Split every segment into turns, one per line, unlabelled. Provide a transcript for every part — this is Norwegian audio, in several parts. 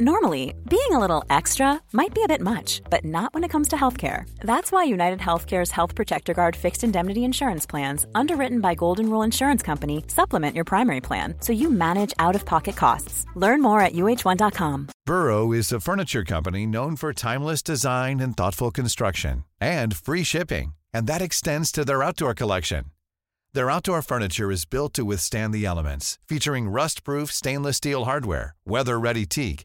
Normally, being a little extra might be a bit much, but not when it comes to healthcare. That's why United Healthcare's Health Protector Guard fixed indemnity insurance plans, underwritten by Golden Rule Insurance Company, supplement your primary plan so you manage out of pocket costs. Learn more at uh1.com.
Burrow is a furniture company known for timeless design and thoughtful construction and free shipping, and that extends to their outdoor collection. Their outdoor furniture is built to withstand the elements, featuring rust-proof stainless steel hardware, weather-ready teak,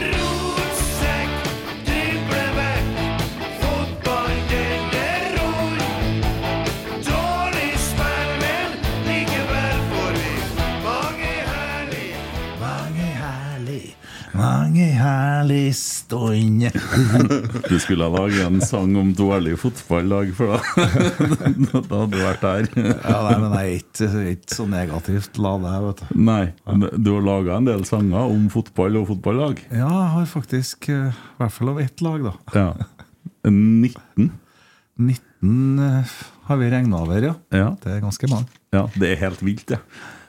Rotsekk, driblevekk, fotball gjelder ord. Dårlig spill, men likevel får vi mange herlig, mange herlig, mange herlig stunder.
Du skulle ha laget en sang om dårlig fotballag, for da, da hadde du vært der.
Ja, nei, men jeg er ikke, jeg er ikke så negativt la det, vet du.
Nei, du har laga en del sanger om fotball og fotballag.
Ja, jeg har faktisk eh, i hvert fall av ett lag, da.
Ja. 19.
19 eh, har vi regna over, ja.
Ja.
Det er ganske mange.
ja, det er helt vilt, det.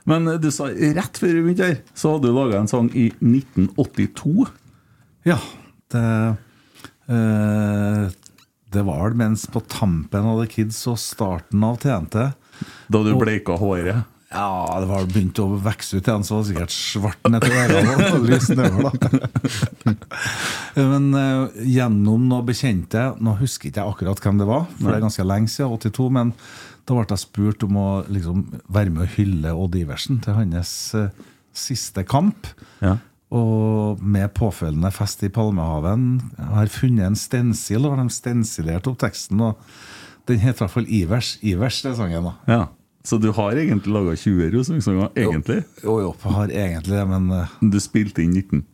Men eh, du sa rett før vi begynte her, så hadde du laga en sang i 1982.
Ja, det eh, Det var vel mens på tampen av The Kids og starten av TNT
Da du bleika håret.
Ja, det var begynt å vokse ut igjen, så var det sikkert svart nedover øynene og lyst nedover, da. Men eh, gjennom noen bekjente Nå husker ikke jeg akkurat hvem det var, for det er ganske lenge siden, 82, men da ble jeg spurt om å liksom, være med å hylle Odd Iversen til hans eh, siste kamp.
Ja.
Og med påfølgende fest i Palmehaven jeg har funnet en stensil, og har de stensilert opp teksten. og Den heter i hvert fall Ivers. Ivers, det er sangen, da.
ja. Så du har egentlig laga 20 Rosenborg-sanger, egentlig?
Jo, jo, jeg har egentlig det, men eh,
Du spilte inn 19.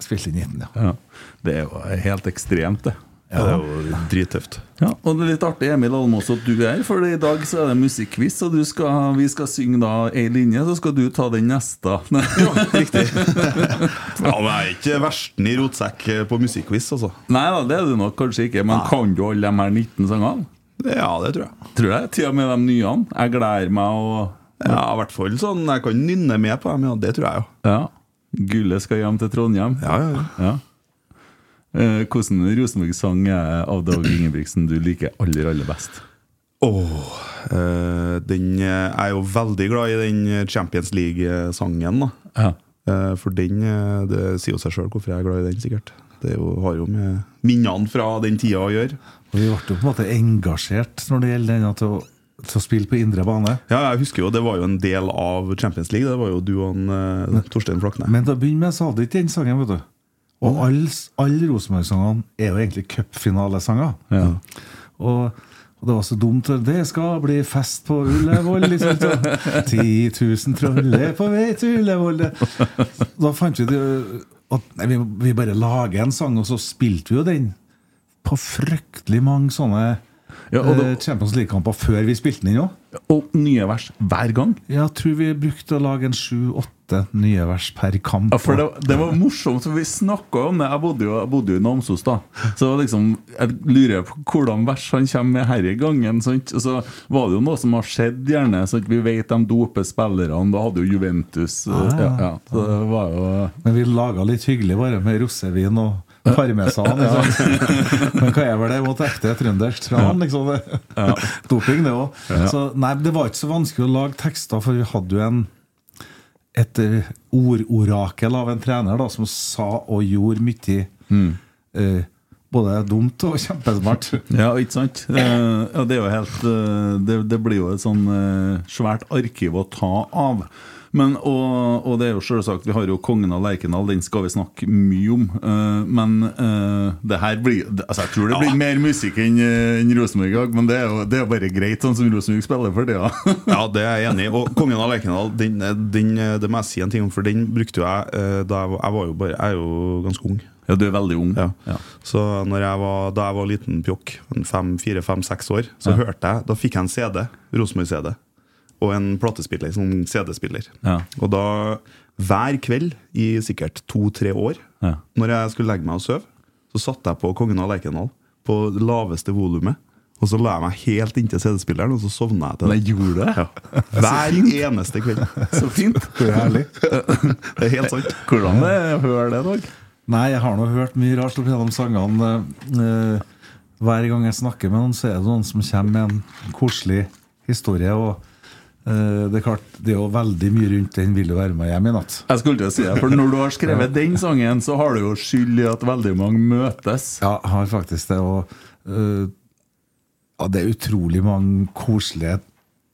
jeg spilte inn 19, ja.
Ja. Det er jo helt ekstremt, det.
Ja, det er jo drittøft.
Ja, og det er litt artig, Emil Almås, at du er her, for i dag så er det musikkquiz, og du skal, vi skal synge da ei linje, så skal du ta den neste.
Riktig. ja, men jeg er ikke versten i rotsekk på musikkquiz, altså.
Nei da, det er du nok kanskje ikke, men kan du alle de her 19 sangene?
Ja, det tror jeg.
Tror jeg. Til og med de nye. Jeg gleder meg og
Ja, i hvert fall sånn. Jeg kan nynne med på dem, ja. Det tror jeg jo.
Ja. Gullet skal hjem til Trondheim.
Ja, ja, ja.
Ja. Eh, hvordan Rosenborg-sang er av Dag Ingebrigtsen du liker aller, aller best?
Åh, eh, den, eh, jeg er jo veldig glad i den Champions League-sangen, da.
Ja.
Eh, for den eh, Det sier jo seg sjøl hvorfor jeg er glad i den, sikkert. Det er jo, har jo med minnene fra den tida å gjøre.
Og vi ble jo på en måte engasjert når det gjelder denne til å, til å spille på indre bane.
Ja, jeg husker jo, Det var jo en del av Champions League. Det var jo du og han, eh, Torstein Flakne.
Men til å begynne med så hadde jeg ikke den sangen, vet du. Og alle all Rosenborg-sangene er jo egentlig cupfinalesanger. Og, og det var så dumt. Det skal bli fest på Ullevål. Liksom. 10 000 troller på vei til Ullevål. Da fant vi det, at nei, vi, vi bare lager en sang, og så spilte vi jo den på fryktelig mange sånne
Ja, og da-
eh, Champions League-kamper før vi spilte den inn òg.
Og nye vers hver gang.
Jeg tror vi brukte å lage en sju-åtte nye vers per kamp.
Ja, for det, det var morsomt, for vi snakka om det. Jeg bodde jo, jeg bodde jo i Namsos, da. Så det var liksom, jeg lurer på hvordan vers han kommer med her i gangen. Sant? Og så var det jo noe som har skjedd, gjerne. Sant? Vi vet de doper spillerne. Da hadde jo Juventus
ja,
ja, ja. Så det var jo
Men vi laga litt hyggelig bare med rossevin og parmesan. Liksom. Men hva er vel det mot ekte trøndersk tran? Liksom. Doping, det òg. Nei, det var ikke så vanskelig å lage tekster, for vi hadde jo en et eh, ordorakel av en trener da, som sa og gjorde mye eh, både dumt og kjempesmart.
Ja, ikke sant? Eh, ja, det er jo helt eh, det, det blir jo et sånn eh, svært arkiv å ta av. Men, og, og det er jo selvsagt, vi har jo Kongen av Lerkendal, den skal vi snakke mye om. Eh, men eh, det her blir altså Jeg tror det blir mer musikk enn eh, enn Rosenborg i dag, men det er jo det er bare greit, sånn som Rosenborg spiller for tida.
Ja, det er jeg enig i. Og Kongen av Lerkendal, den, den, det må jeg si en ting om, for den brukte jo jeg eh, da jeg var, jeg var jo bare Jeg er jo ganske ung.
ja, du er veldig ung.
Ja.
Ja.
Så når jeg var, da jeg var liten pjokk, en fem, fire, fem, seks år, så
Ja.
hørte jeg Da fikk jeg en CD, Rosenborg-CD, og en platespiller, sånn CD-spiller.
Ja.
Og da, hver kveld i sikkert to-tre år,
Ja.
når jeg skulle legge meg og sove, så satte jeg på Kongen av Lerkendal på det laveste volumet. Og så la jeg meg helt inntil CD-spilleren, og så sovna jeg til
Nei,
det.
gjorde det?
Hver eneste kveld.
Så fint.
Det er herlig.
Det er helt sant.
Hvordan det er å høre det, Dag?
Nei, jeg har nå hørt mye rart opp gjennom sangene. eh, eh, Hver gang jeg snakker med noen, så er det noen som kommer med en koselig historie. Og eh, det er klart, det er jo veldig mye rundt den 'Vil du være med hjem i natt'.
Jeg skulle til å si det, for når du har skrevet den sangen, så har du jo skyld i at veldig mange møtes.
Ja, jeg har faktisk det. Og eh, ja, det er utrolig mange koselige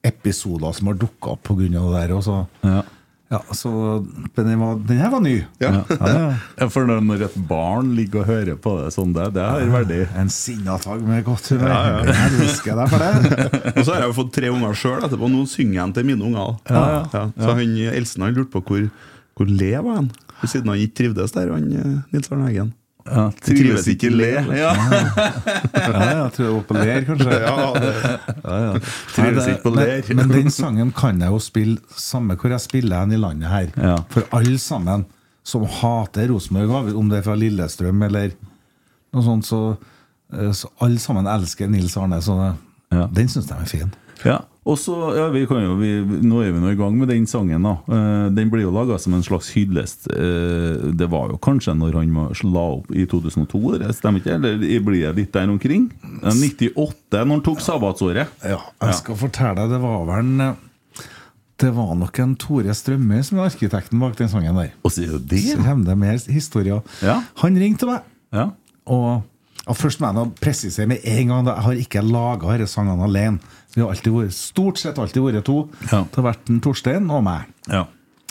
episoder som har dukka opp pga. det der. Og så,
Ja.
ja, så men den, var, den her var ny.
Ja.
Ja,
Ja, For når- når et barn ligger og hører på det sånn, det, det har verdi.
en sinnatag med godt humør. Jeg elsker deg for det.
Og så har jeg jo fått tre unger sjøl etterpå, og nå synger jeg den til mine unger. også.
Ja, ja.
Så han, Elsen han lurte på hvor, hvor lever han Ved siden han ikke trivdes der, han eh, Nils Arne Eggen.
Ja,
trives ikke i le.
Ja.
Ja, jeg tror jeg var på ler, kanskje. Ja, ja.
Trives
Nei,
ikke på
det-
ler.
Men, men den sangen kan jeg jo spille samme hvor jeg spiller hen i landet her.
Ja.
For alle sammen som hater Rosenborg, om det er fra Lillestrøm eller noe sånt, så, eh, så alle sammen elsker Nils Arne. Så det,
Ja.
den syns de er fin.
Ja. Og så, ja, vi kan jo, vi, Nå er vi nå i gang med den sangen. da Eh, Den blir jo laga som en slags hyllest. Eh, det var jo kanskje når han var- la opp i 2002, det stemmer ikke? Eller blir det litt der omkring? Eh, 98, når han tok sabbatsåret.
Ja, jeg skal fortelle deg, det var vel en eh, Det var nok en Tore Strømøy som var arkitekten bak den sangen der.
Og så er jo
Så
det!
kommer det mer historier.
Ja.
Han ringte meg.
Ja.
Og, og først må jeg nå presisere med en gang da, Jeg har ikke laga disse sangene alene. Vi har alltid vært, stort sett alltid vært to.
Ja.
Det har vært en Torstein og meg.
ja.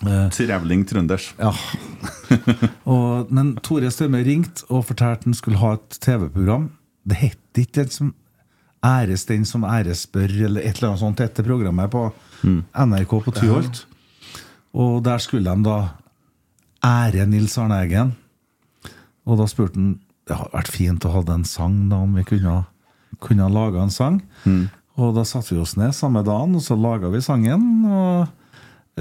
Eh. Trevling trønders.
Ja. og, men Tore Stømme ringte og fortalte han skulle ha et TV-program. Det het ikke den som Æres den som æres bør, eller et eller annet sånt etter programmet på NRK på Tyholt. Og der skulle de da ære Nils Arne Eggen. Og da spurte han Det hadde vært fint å ha en sang, da, om vi kunne, kunne laga en sang. Og da satte vi oss ned samme dagen, og så laga vi sangen. Og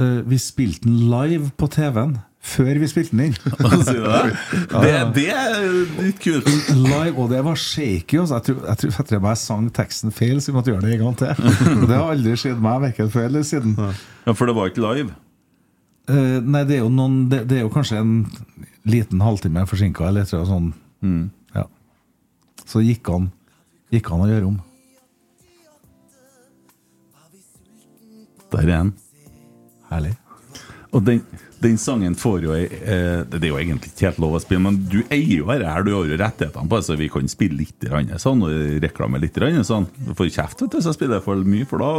eh, vi spilte den live på TV-en før vi spilte den inn.
Hva sier du det? Det, det er litt kult.
Live, og det var shaky. Altså. Jeg tror jeg, tror, jeg, tror jeg bare sang teksten feil, så vi måtte gjøre det en gang til. Og det har aldri skjedd meg, verken før eller siden.
Ja, For det var ikke live.
Eh, nei, det er, jo noen, det, det er jo kanskje en liten halvtime forsinka, eller tror jeg sånn.
Mm.
Ja. Så gikk han, gikk han å gjøre om.
Der er den.
Herlig.
Og den, den sangen får jo ei, eh, Det er jo egentlig ikke helt lov å spille, men du eier jo dette her, du har jo rettighetene på det, så vi kan spille litt grann, sånn, og reklame litt. Grann, sånn. Du får kjeft vet du, hvis jeg spiller for mye, for da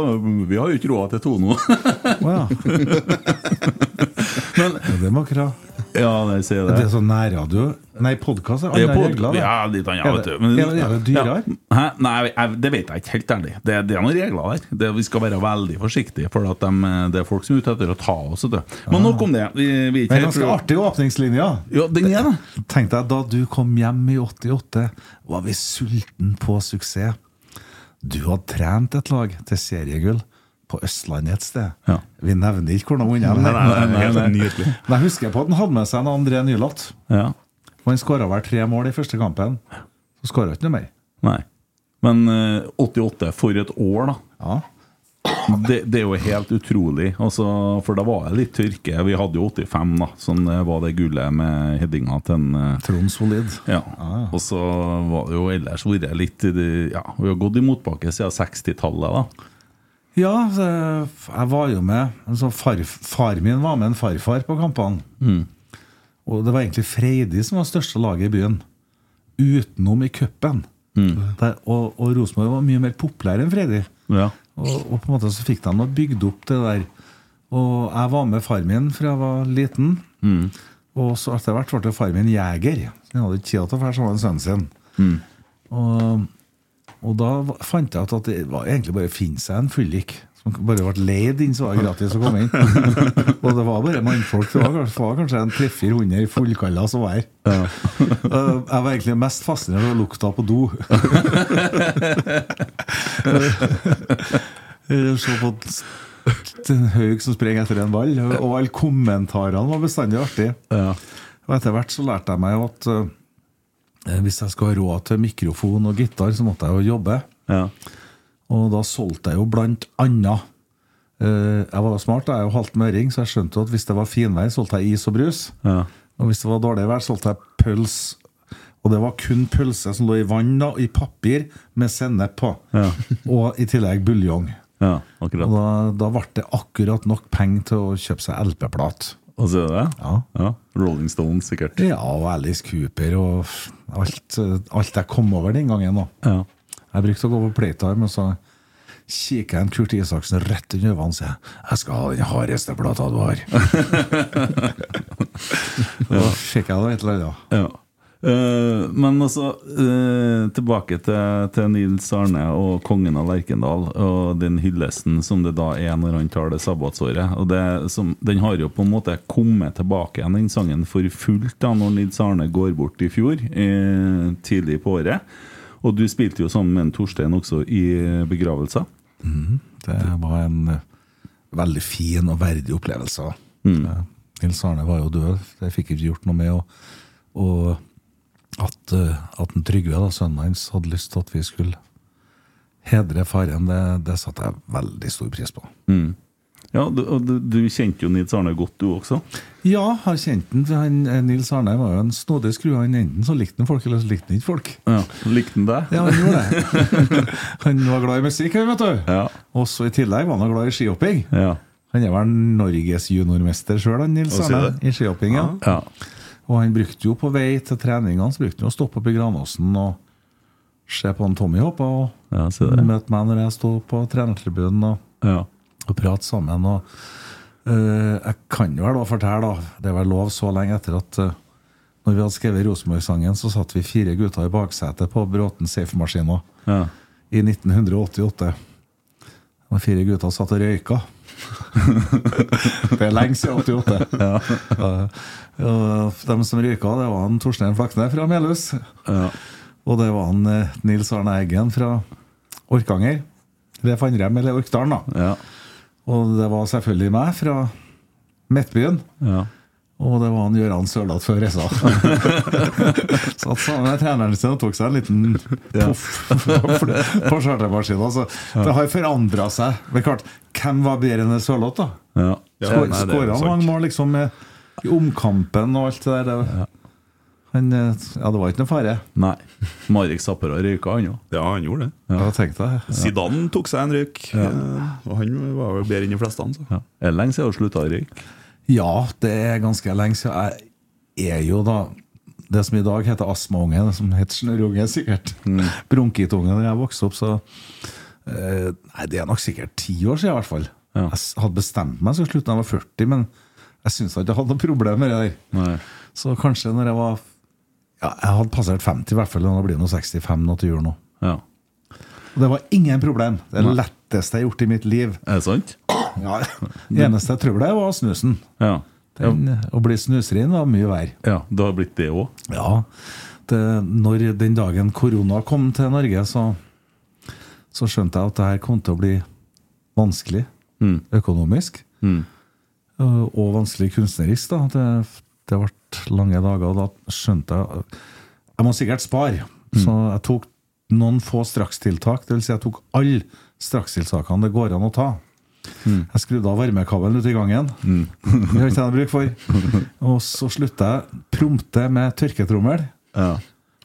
Vi har jo ikke råd til to nå.
Å ja. Ja, det må ikke ha.
ja, jeg sier
Det er
det.
sånn nærradio Nei, podkast er
Det
andre
er pod-
regler. da.
ja, litt annet,
Er
vet
det-
du. Men-
er det- er det dyrere?
Ja. Hæ? Nei, jeg, det vet jeg ikke helt ærlig. Det, det er noen regler der. Det, vi skal være veldig forsiktige, for at de, det er folk som er ute etter å ta oss. vet du. Men nok om det. Vi, vi er
Det
ikke
er
helt-
ganske artig åpningslinja.
Ja, den er det.
Tenk deg, da du kom hjem i 88, var vi sulten på suksess. Du hadde trent et lag til seriegull på Østlandet et sted.
Ja.
Vi nevner ikke hvordan hun er.
nei, nei, helt
nei.
nydelig.
Men jeg husker på at han hadde med seg en André Nylatt.
Ja.
Og han skåra vel tre mål i første kampen. Så skåra ikke noe mer.
Nei. Men eh, 88 for et år, da.
Ja.
Det, det er jo helt utrolig. Altså, for da var det litt tørke. Vi hadde jo 85, da. Sånn eh, var det gullet med headinga til en eh,
Trond Solid.
Ah, ja. Og så var det jo ellers vært litt i det- Ja, vi har gått i motbakke siden 60-tallet, da.
Ja, så jeg var jo med altså far, far min var med en farfar på kampene. Og det var egentlig Freidi som var største laget i byen. Utenom i cupen. Der- Og, og Rosenborg var mye mer populær enn Freidi.
Ja.
Og, og på en måte så fikk de nå bygd opp det der Og jeg var med far min fra jeg var liten. Og så etter hvert ble far min jeger. Så Han hadde ikke tid til å dra, så han var sønnen sin. Og, og da va- fant jeg ut at det var egentlig bare å finne seg en fyllik. Som bare ble leid inn, så var det gratis å komme inn. Og det var bare mannfolk. Det var, kanskje- var kanskje en 300-400 fullkalla som var her. Eh, Jeg var egentlig mest fascinert av lukta på do. Eller Se Eh, på t- en haug som springer etter en ball. Og alle kommentarene var bestandig artig. Og etter hvert så lærte jeg meg jo at eh, hvis jeg skal ha råd til mikrofon og gitar, så måtte jeg jo jobbe.
Ja.
Og da solgte jeg jo blant annet eh, Jeg var smart, da, jeg er jo halvt møring, så jeg skjønte jo at hvis det var finvær, solgte jeg is og brus.
Ja.
Og hvis det var dårlig vær, solgte jeg pøls. Og det var kun pølse som lå i vann da, i papir med sennep på.
Ja.
Og i tillegg buljong.
ja,
Og
akkurat.
da, da ble det akkurat nok penger til å kjøpe seg LP-plat.
Og så er det det?
Ja.
Rolling Stones, sikkert.
Ja, og Alice Cooper og f- alt, eh, alt jeg kom over den gangen. da.
Ja.
Jeg brukte å gå på Playtime, og så kikker jeg en Kurt Isaksen rett under øynene og sier 'Jeg skal ha den hardeste plata du har'. Da fikk jeg da et eller annet.
Ja. Eh, men altså, eh, tilbake til, til Nils Arne og kongen av Lerkendal og den hyllesten som det da er når han tar det sabbatsåret. Og det som, Den har jo på en måte kommet tilbake igjen, den sangen, for fullt da når Nils Arne går bort i fjor, eh, tidlig på året. Og du spilte jo sammen med en Torstein også i begravelser.
Det var en eh, veldig fin og verdig opplevelse. Eh, Nils Arne var jo død, det fikk ikke gjort noe med. Og, og at, eh, at en Trygve, da, sønnen hans, hadde lyst til at vi skulle hedre faren, det, det satte jeg veldig stor pris på.
Ja, du, og du, du kjente jo Nils Arne godt, du også.
Ja, jeg har kjent den. for Han, eh, Nils Arne var jo en snodig skrue. Han Enten så likte han folk, eller så likte han ikke folk.
Ja. Likte han deg?
Ja, han gjorde det. han var glad i musikk, han, vet du.
Ja.
Også i tillegg var han glad i skihopping.
Ja.
Han er vel Norges juniormester sjøl, Nils
Å, sier
Arne,
det?
i skihopping. Ja.
ja.
Og han brukte jo på vei til treningene Så brukte han jo å stoppe opp i Granåsen og se på han Tommy hoppe, og
Ja, se det.
møte meg når jeg sto på trenertribunen og,
Ja.
og prate sammen. Og, eh, jeg kan jo vel da fortelle, da, det er vel lov så lenge etter at eh, når vi hadde skrevet Rosenborg-sangen, så satt vi fire gutter i baksetet på Bråten Safe-maskina
Ja.
i 1988. Og fire gutter satt og røyka. det er lenge siden 88. Eh, og de som røyka, det var han Torstein Flakne fra Melhus.
Ja.
Og det var han eh, Nils Arne Eggen fra Orkanger. Det fant de, eller Orkdalen, da.
Ja.
Og det var selvfølgelig meg fra Midtbyen.
ja.
Og det var han Gøran Sørloth før reisa. Satt sammen med treneren sin og tok seg en liten poff på chartermaskina. Så det har forandra seg. Men klart, hvem var bedre enn Sørloth, da?
Ja.
Ja, nei, det er jo
Skåra han
sant.
mange mål liksom eh, i omkampen og alt det der. Det, han, eh, ja, det var ikke noe fare.
Nei. Marek Zappera røyka, han òg.
Ja, han gjorde det.
Ja. Tenk deg.
Zidane tok seg en røyk, eh, og han var jo bedre enn de fleste. Han, så.
Ja. Er det lenge siden hun slutta å røyke?
Ja, det er ganske lenge siden. Jeg er jo da det som i dag heter astmaunge, det som het snørrunge, sikkert. Bronkittunge da jeg vokste opp, så eh, Nei, det er nok sikkert ti år siden, i hvert fall.
Ja.
Jeg s- hadde bestemt meg så slutten da jeg var 40, men jeg syntes ikke jeg hadde noe problem med det der.
Nei.
Så kanskje når jeg var Ja, jeg hadde passert 50 i hvert fall, og da blir det nå 65 nå til jul nå.
Ja.
Og det var ingen problem. Det er det letteste jeg har gjort i mitt liv.
Er det sant?
Ja. Det eneste trøbbelet var snusen.
Ja. Ja.
Den, eh, Å bli snusrin var mye verre.
ja. Det har blitt det òg?
Ja, det, når den dagen korona kom til Norge, så, så skjønte jeg at det her kom til å bli vanskelig økonomisk. eh, Og vanskelig kunstnerisk. Da. Det, det ble lange dager, og da skjønte jeg Jeg må sikkert spare, så jeg tok noen få strakstiltak. Dvs. Si jeg tok alle strakstiltakene det går an å ta. Jeg skrudde av varmekabelen ute i gangen. Det har ikke jeg bruk for. Og så slutta jeg prompte med tørketrommel,
Ja.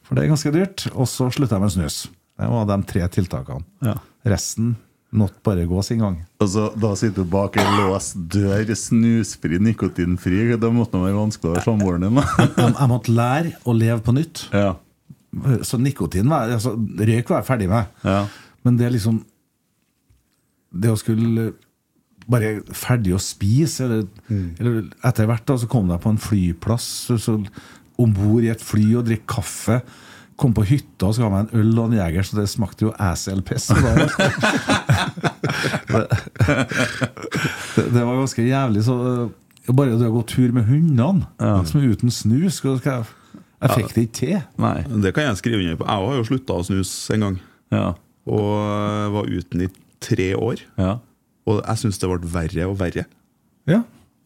for det er ganske dyrt. Og så slutta jeg med snus. Det var de tre tiltakene.
Ja.
Resten måtte bare gå sin gang.
Altså, da sitter du bak en låst dør, snusfri, nikotinfri. Det måtte nå være vanskelig å være samboeren din, da.
Jeg, jeg måtte lære å leve på nytt.
Ja.
Så nikotin var, altså, Røyk var jeg ferdig med.
Ja.
Men det er liksom Det å skulle bare ferdig å spise. Eller, eller etter hvert da, så kom jeg på en flyplass om bord i et fly og drikke kaffe. Kom på hytta og skulle ha meg en øl og en jeger, så det smakte jo ACL-piss. Det, det, det var ganske jævlig. Så øh, bare det å gå tur med hundene, som er uten snus skal, skal jeg, jeg fikk det ikke til.
Nei.
Det kan jeg skrive under på. Jeg har jo slutta å snuse en gang.
Ja.
Og eh, var uten i tre år.
ja.
Og jeg syns det ble verre og verre.
Ja.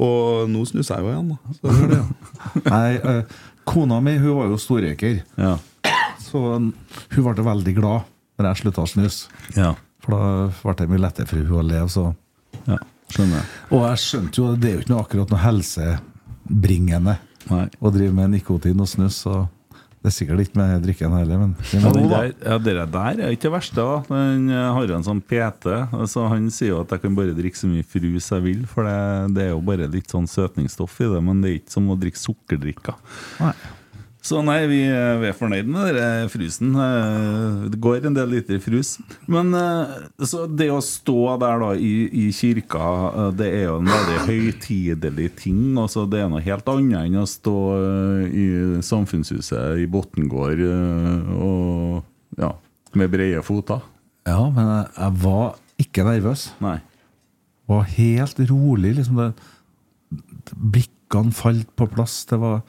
Og nå snuser jeg jo igjen, da. Så det er det, ja.
Nei, øh, kona mi hun var jo storrøyker.
Ja.
Så hun ble veldig glad når jeg slutta å snus.
ja.
For da ble det mye lettere for hun å leve. Så.
ja. Skjønner.
Og jeg skjønte jo at det er jo ikke noe akkurat noe helsebringende
Nei.
å drive med nikotin og snus. Så det er sikkert ikke med drikken heller, men vi
Ja,
må
den
da.
der, ja, dere der er ikke det verste, da. Den eh, har en sånn PT. Altså, han sier jo at jeg kan bare drikke så mye frus jeg vil, for det, det er jo bare litt sånn søtningsstoff i det. Men det er ikke som å drikke sukkerdrikker.
Nei.
Så nei, vi, eh, vi er fornøyd med denne frusen. Eh, Det går en del liter frus. Men eh, så det å stå der da i, i kirka, eh, det er jo en veldig høytidelig ting. Altså, det er noe helt annet enn å stå eh, i samfunnshuset i Botngård eh, og ja, med brede føtter.
Ja, men jeg, jeg var ikke nervøs.
Nei.
Var helt rolig. liksom det, Blikkene falt på plass. Det var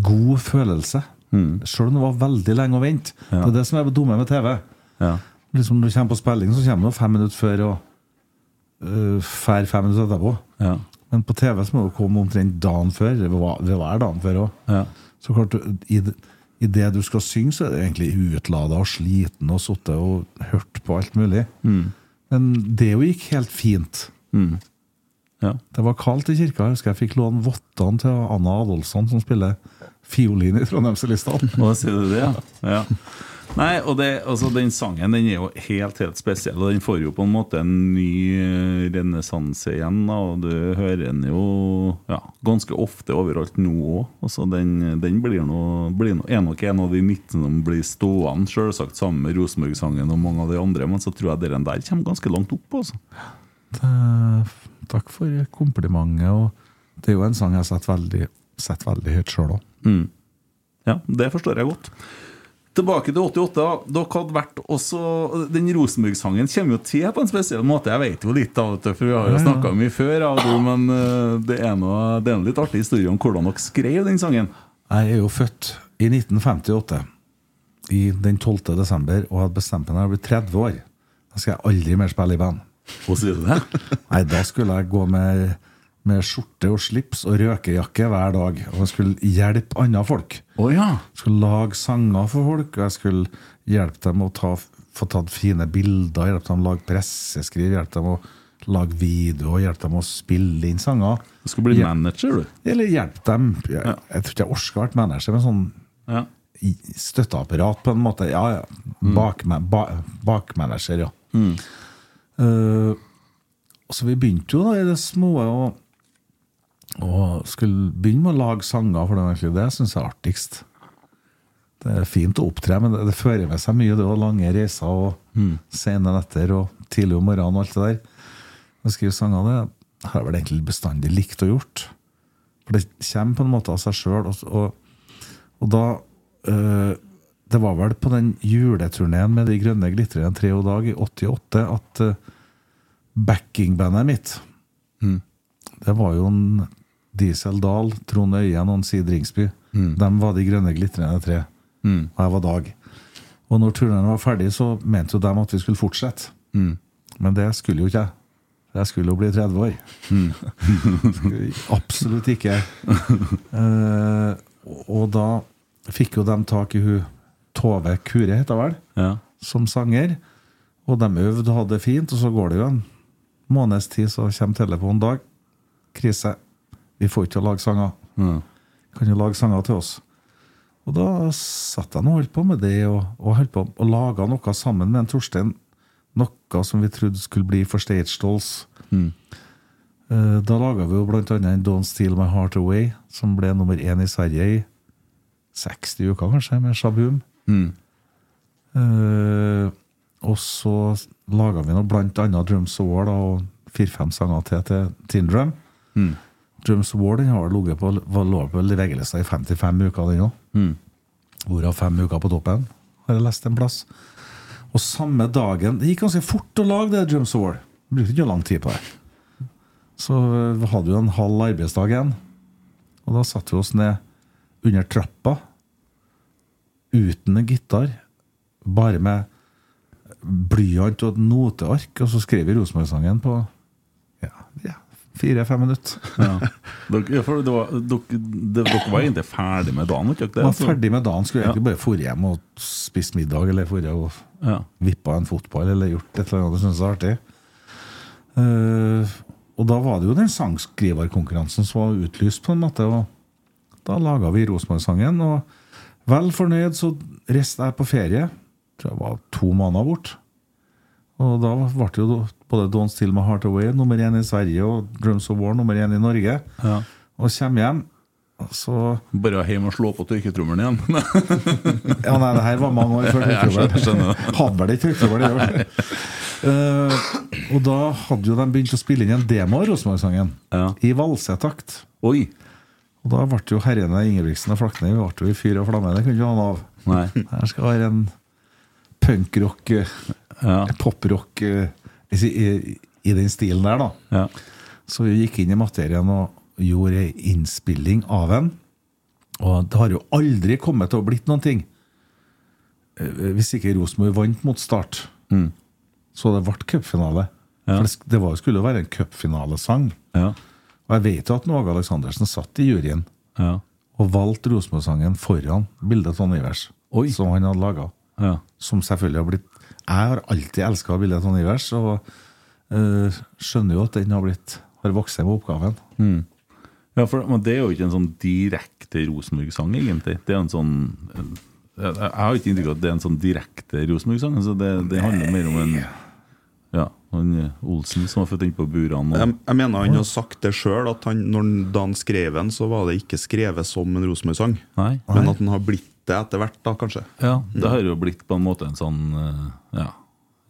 god følelse.
Mm.
Selv om det var veldig lenge å vente. Det er det som er det dumme med TV.
Ja.
Liksom Når du kommer på spilling, så kommer du fem minutter før og øh, fær fem minutter etterpå.
Ja.
Men på TV så må du komme omtrent dagen før. Det var, det var dagen før òg.
Ja.
Så klart, i, det- i det du skal synge, så er du egentlig utlada og sliten og sittet og hørt på alt mulig. Men det jo gikk helt fint.
ja.
Det var kaldt i kirka. Jeg husker jeg fikk låne vottene til Anna Adolfsson, som spiller fiolin i Trondheimsrelistene.
Hva sier du det, ja? ja. Nei, og det, altså, Den sangen den er jo helt helt spesiell, og den får jo på en måte en ny eh, renessanse igjen. da, og Du hører den jo ja, ganske ofte overalt nå òg. Den, den blir nå- blir nå- er nok en av de 19 som blir stående, selvsagt sammen med Rosenborg-sangen og mange av de andre, men så tror jeg den der kommer ganske langt opp. altså.
Eh, Takk for komplimentet. Og det er jo en sang jeg setter veldig, setter veldig høyt sjøl òg.
Ja, det forstår jeg godt. Tilbake til 88. da. Dere hadde vært også Den Rosenborg-sangen kommer jo til på en spesiell måte. Jeg vet jo litt av det, for vi har jo snakka mye før, av det, men eh, det er nå det er en litt artig historie om hvordan dere skrev den sangen.
Jeg er jo født i 1958, i den 12. desember, og hadde bestemt meg når jeg ble 30 år. Da skal jeg aldri mer spille i band.
Hva sier du det?
Nei, da skulle jeg gå med, med skjorte og slips og røkejakke hver dag. Og jeg skulle hjelpe andre folk.
Å ja.
Jeg skulle lage sanger for folk, og jeg skulle hjelpe dem å ta, få tatt fine bilder, hjelpe dem å lage presseskriv, hjelpe dem å lage video, hjelpe dem å spille inn sanger.
Du skal bli
Ja.
manager, du.
Eller hjelpe dem. Jeg, jeg tror ikke jeg orker å være manager, men sånn
Ja.
i- støtteapparat på en måte. Ja, ja. Bakme- ba, bakmanager, ja. Eh, så vi begynte jo da i det små og, og skulle begynne med å lage sanger, for det, var egentlig det jeg syns jeg er artigst. Det er fint å opptre, men det, det fører med seg mye. Det var lange reiser og sene netter og tidlig om morgenen og alt det der. Å skrive sanger det har jeg vel egentlig bestandig likt og gjort. For det kommer på en måte av seg sjøl. Og, og og da øh, Det var vel på den juleturneen med De grønne glitrende tre og dag i 88 at øh, backingbandet mitt Det var jo en Diesel Dahl, Trond Øyen og en Sid Ringsby. De var De grønne glitrende tre. Og jeg var Dag. Og når turneen var ferdig, så mente jo de at vi skulle fortsette. Men det skulle jo ikke jeg. Jeg skulle jo bli 30 år. Absolutt ikke. Eh, og da fikk jo de tak i hun Tove Kure, heter hun vel,
Ja.
som sanger. Og de øvde og hadde det fint, og så går det jo en måneds tid, så kommer telefonen Dag. Krise. Vi får ikke til å lage sanger. Kan du lage sanger til oss? Og da satt jeg nå og holdt på med det, og, og, holdt på, og laga noe sammen med en Torstein. Noe som vi trodde skulle bli for Stage Dolls. Eh, Da laga vi jo blant annet en Don't Steal My Heart Away, som ble nummer én i Sverige i 60 uker, kanskje, med Shaboom. Eh, og så laga vi nå blant annet Drums of War da, og fire-fem sanger til til Teen Drum. Drums of War den har ligget på var lå på VG-lista i 55 uker, den òg. Hvorav fem uker på toppen, har jeg lest en plass. Og samme dagen Det gikk ganske fort å lage det Drums of War. Brukte ikke lang tid på det. Så eh, vi hadde jo en halv arbeidsdag igjen. Og da satte vi oss ned under trappa uten en gitar, bare med blyant og et noteark, og så skrev vi Rosenborg-sangen på ja, ja, fire-fem minutter.
Ja. Dere, ja, for det var, dere, det, dere var egentlig ferdig med dagen, var ikke
Jeg
dere
var
det?
ferdig med dagen, skulle jeg egentlig bare fore hjem og spist middag, eller fore og
Ja.
vippa en fotball, eller gjort et eller annet jeg syntes var artig. Eh, og da var det jo den sangskriverkonkurransen som var utlyst, på en måte. og Da laga vi Rosenborg-sangen, og vel fornøyd så reiste jeg på ferie. Tror jeg var to måneder bort. Og da ble det jo både Don't Steal My Heart Away nummer én i Sverige og Drums of War nummer én i Norge.
Ja.
Og kommer hjem, så
Bare hjem og slå på tørketrommelen igjen.
Ja, nei, det her var mange år før
Jeg skjønner
trykkjubelen. Hadde vel ikke trykkjubel, det gjør det. Eh, og da hadde jo de begynt å spille inn en demo av Rosenborg-sangen.
Ja.
I valsetakt.
Oi!
Og da ble jo herrene Ingebrigtsen og Flakne Vi ble jo i fyr og flamme. Det kunne ikke ha noe av.
Nei.
Her skal være en punkrock, eh,
Ja.
poprock eh, i, i, i den stilen der, da.
Ja.
Så vi gikk inn i materien og gjorde ei innspilling av en. Og det har jo aldri kommet til å blitt noen ting. Eh, Hvis ikke Rosenborg vant mot Start. Så det ble cupfinale.
Mm. Ja.
For det sk- Det var, skulle jo være en cupfinalesang.
Ja.
Og jeg vet jo at Någe Aleksandersen satt i juryen
Ja.
og valgte Rosenborg-sangen foran bildet av Ton Ivers,
Oi.
som han hadde laga.
Ja.
Som selvfølgelig har blitt Jeg har alltid elska bildet av Ton Ivers, og eh, skjønner jo at den har blitt har vokst med oppgaven.
ja for, men det er jo ikke en sånn direkte Rosenborg-sang, egentlig. Det er en sånn en- Jeg jeg har ikke inntrykk av at det er en sånn direkte Rosenborg-sang. Altså det, det handler mer om en Ja, han eh, Olsen som var født inn på burene.
Jeg,
og-
jeg mener han har sagt det sjøl, at han, når han, da han skrev den, så var det ikke skrevet som en Rosenborg-sang.
Nei.
Men at den har blitt det etter hvert, da, kanskje.
Ja, det har jo blitt på en måte en sånn eh, Ja.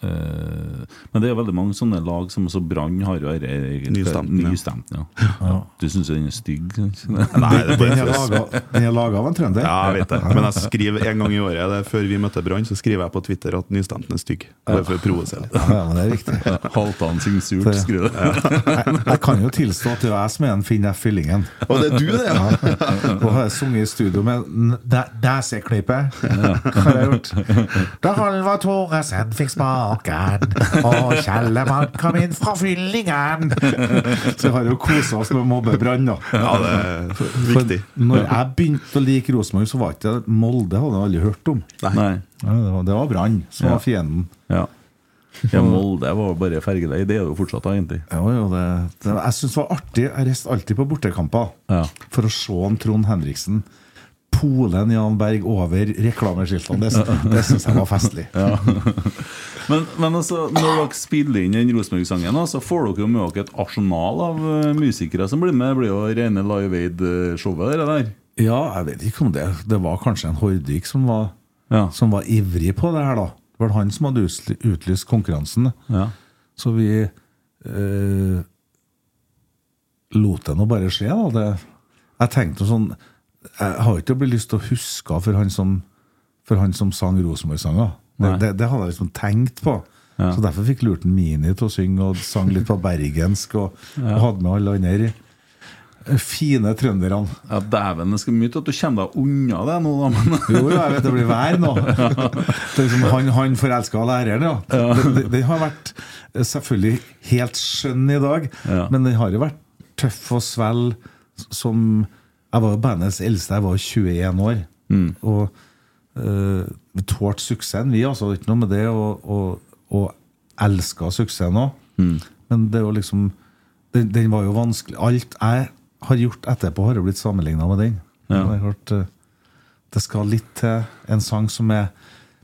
Eh, Men det er veldig mange sånne lag som også Brann har jo dette egentlig-
Nystemten, ja.
Nystemten, ja. ja. Du syns den er stygg? sant?
Nei, det er
Den
bare
er laget- den er laga av en trønder.
Ja, jeg vet det. Men jeg skriver en gang i året, det er før vi møtte Brann, så skriver jeg på Twitter at nystemten er stygg. Bare for å provosere litt.
Ja, men det er viktig.
Halvdan sin surt, skriver du.
Jeg, jeg kan jo tilstå at det er jeg som er den Finn F. Fyllingen.
Og det er du, det! Ja.
Og har jeg sunget i studio med n- dæ- Dæse-klippet. Har jeg gjort. Da Halvard Thoresen fikk smaken, og Kjellemann kom inn fra fyllingen Så vi har jo kosa oss med mobbebrann, da.
Ja, det er
For
viktig.
når jeg begynte å like Rosenborg, så var ikke det- Molde hadde jeg aldri hørt om.
Nei.
Ja, det var, det var Brann som var fienden.
Ja. ja, Molde var bare fergelei. Det er det jo fortsatt, da, egentlig.
Jo, jo, det, det, jeg syns det var artig. Jeg reiste alltid på bortekamper
Ja.
for å se en Trond Henriksen pole en Jan Berg over reklameskiltene. Det, det syns jeg var festlig.
Men, men altså, når dere spiller inn den Rosenborg-sangen, da, så får dere jo med dere et arsenal av eh, musikere som blir med. Det blir jo rene Live Aid-showet, det der.
Ja, jeg vet ikke om det Det var kanskje en Hordik som var,
Ja.
som var ivrig på det her, da. Det var han som hadde usly- utlyst konkurransen.
Ja.
Så vi eh, lot det nå bare skje, da. Det, jeg tenkte jo sånn Jeg har ikke blitt lyst til å huske for han som, for han som sang Rosenborg-sanger. Det,
Nei.
det, det hadde jeg liksom tenkt på.
Ja.
Så derfor fikk lurt en Mini til å synge og sang litt på bergensk. Og, og hadde med alle andre eh, fine trønderne.
Ja, Dæven, det skal mye til at du kommer deg unna det nå, da. Men
Jo, jo, jeg vet det blir vær nå. Det er liksom, han han forelska læreren, ja. Det, det, det har vært eh, selvfølgelig helt skjønn i dag,
Ja.
men den har jo vært tøff å svelge som Jeg var jo bandets eldste, jeg var 21 år.
Mm.
Og eh, vi tålte suksessen, vi, altså. Det er ikke noe med det. Og, og, og elska suksessen òg.
Mm.
Men det er jo liksom den, den var jo vanskelig. Alt jeg har gjort etterpå, har jo blitt sammenligna med den.
Ja.
Det er klart, eh, det skal litt til en sang som er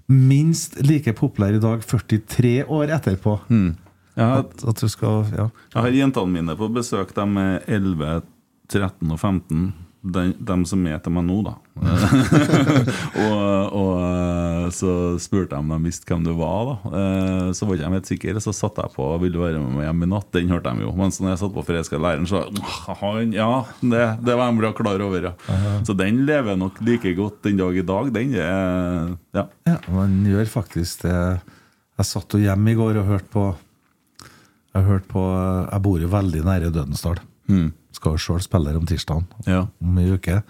minst like populær i dag, 43 år etterpå.
jeg har,
At, at du skal ja.
jeg har jentene mine på besøk. De er 11, 13 og 15. den, dem som er til meg nå, da. og, og så spurte jeg om de visste hvem du var. da Eh, Så var ikke de helt sikre, så satte jeg på 'Vil du være med meg hjem i natt?' Den hørte de jo. Men så når jeg satt på 'For jeg skal lære den', så «Åh, han, Ja, det, det var de bra klar over, ja. Så den lever nok like godt den dag i dag. Den er Ja.
Ja, man gjør faktisk det. Jeg satt jo hjemme i går og hørte på Jeg hørte på Jeg bor jo veldig nære Dødensdal. Skal jo sjøl spille her om tirsdagen
ja.
om ei uke.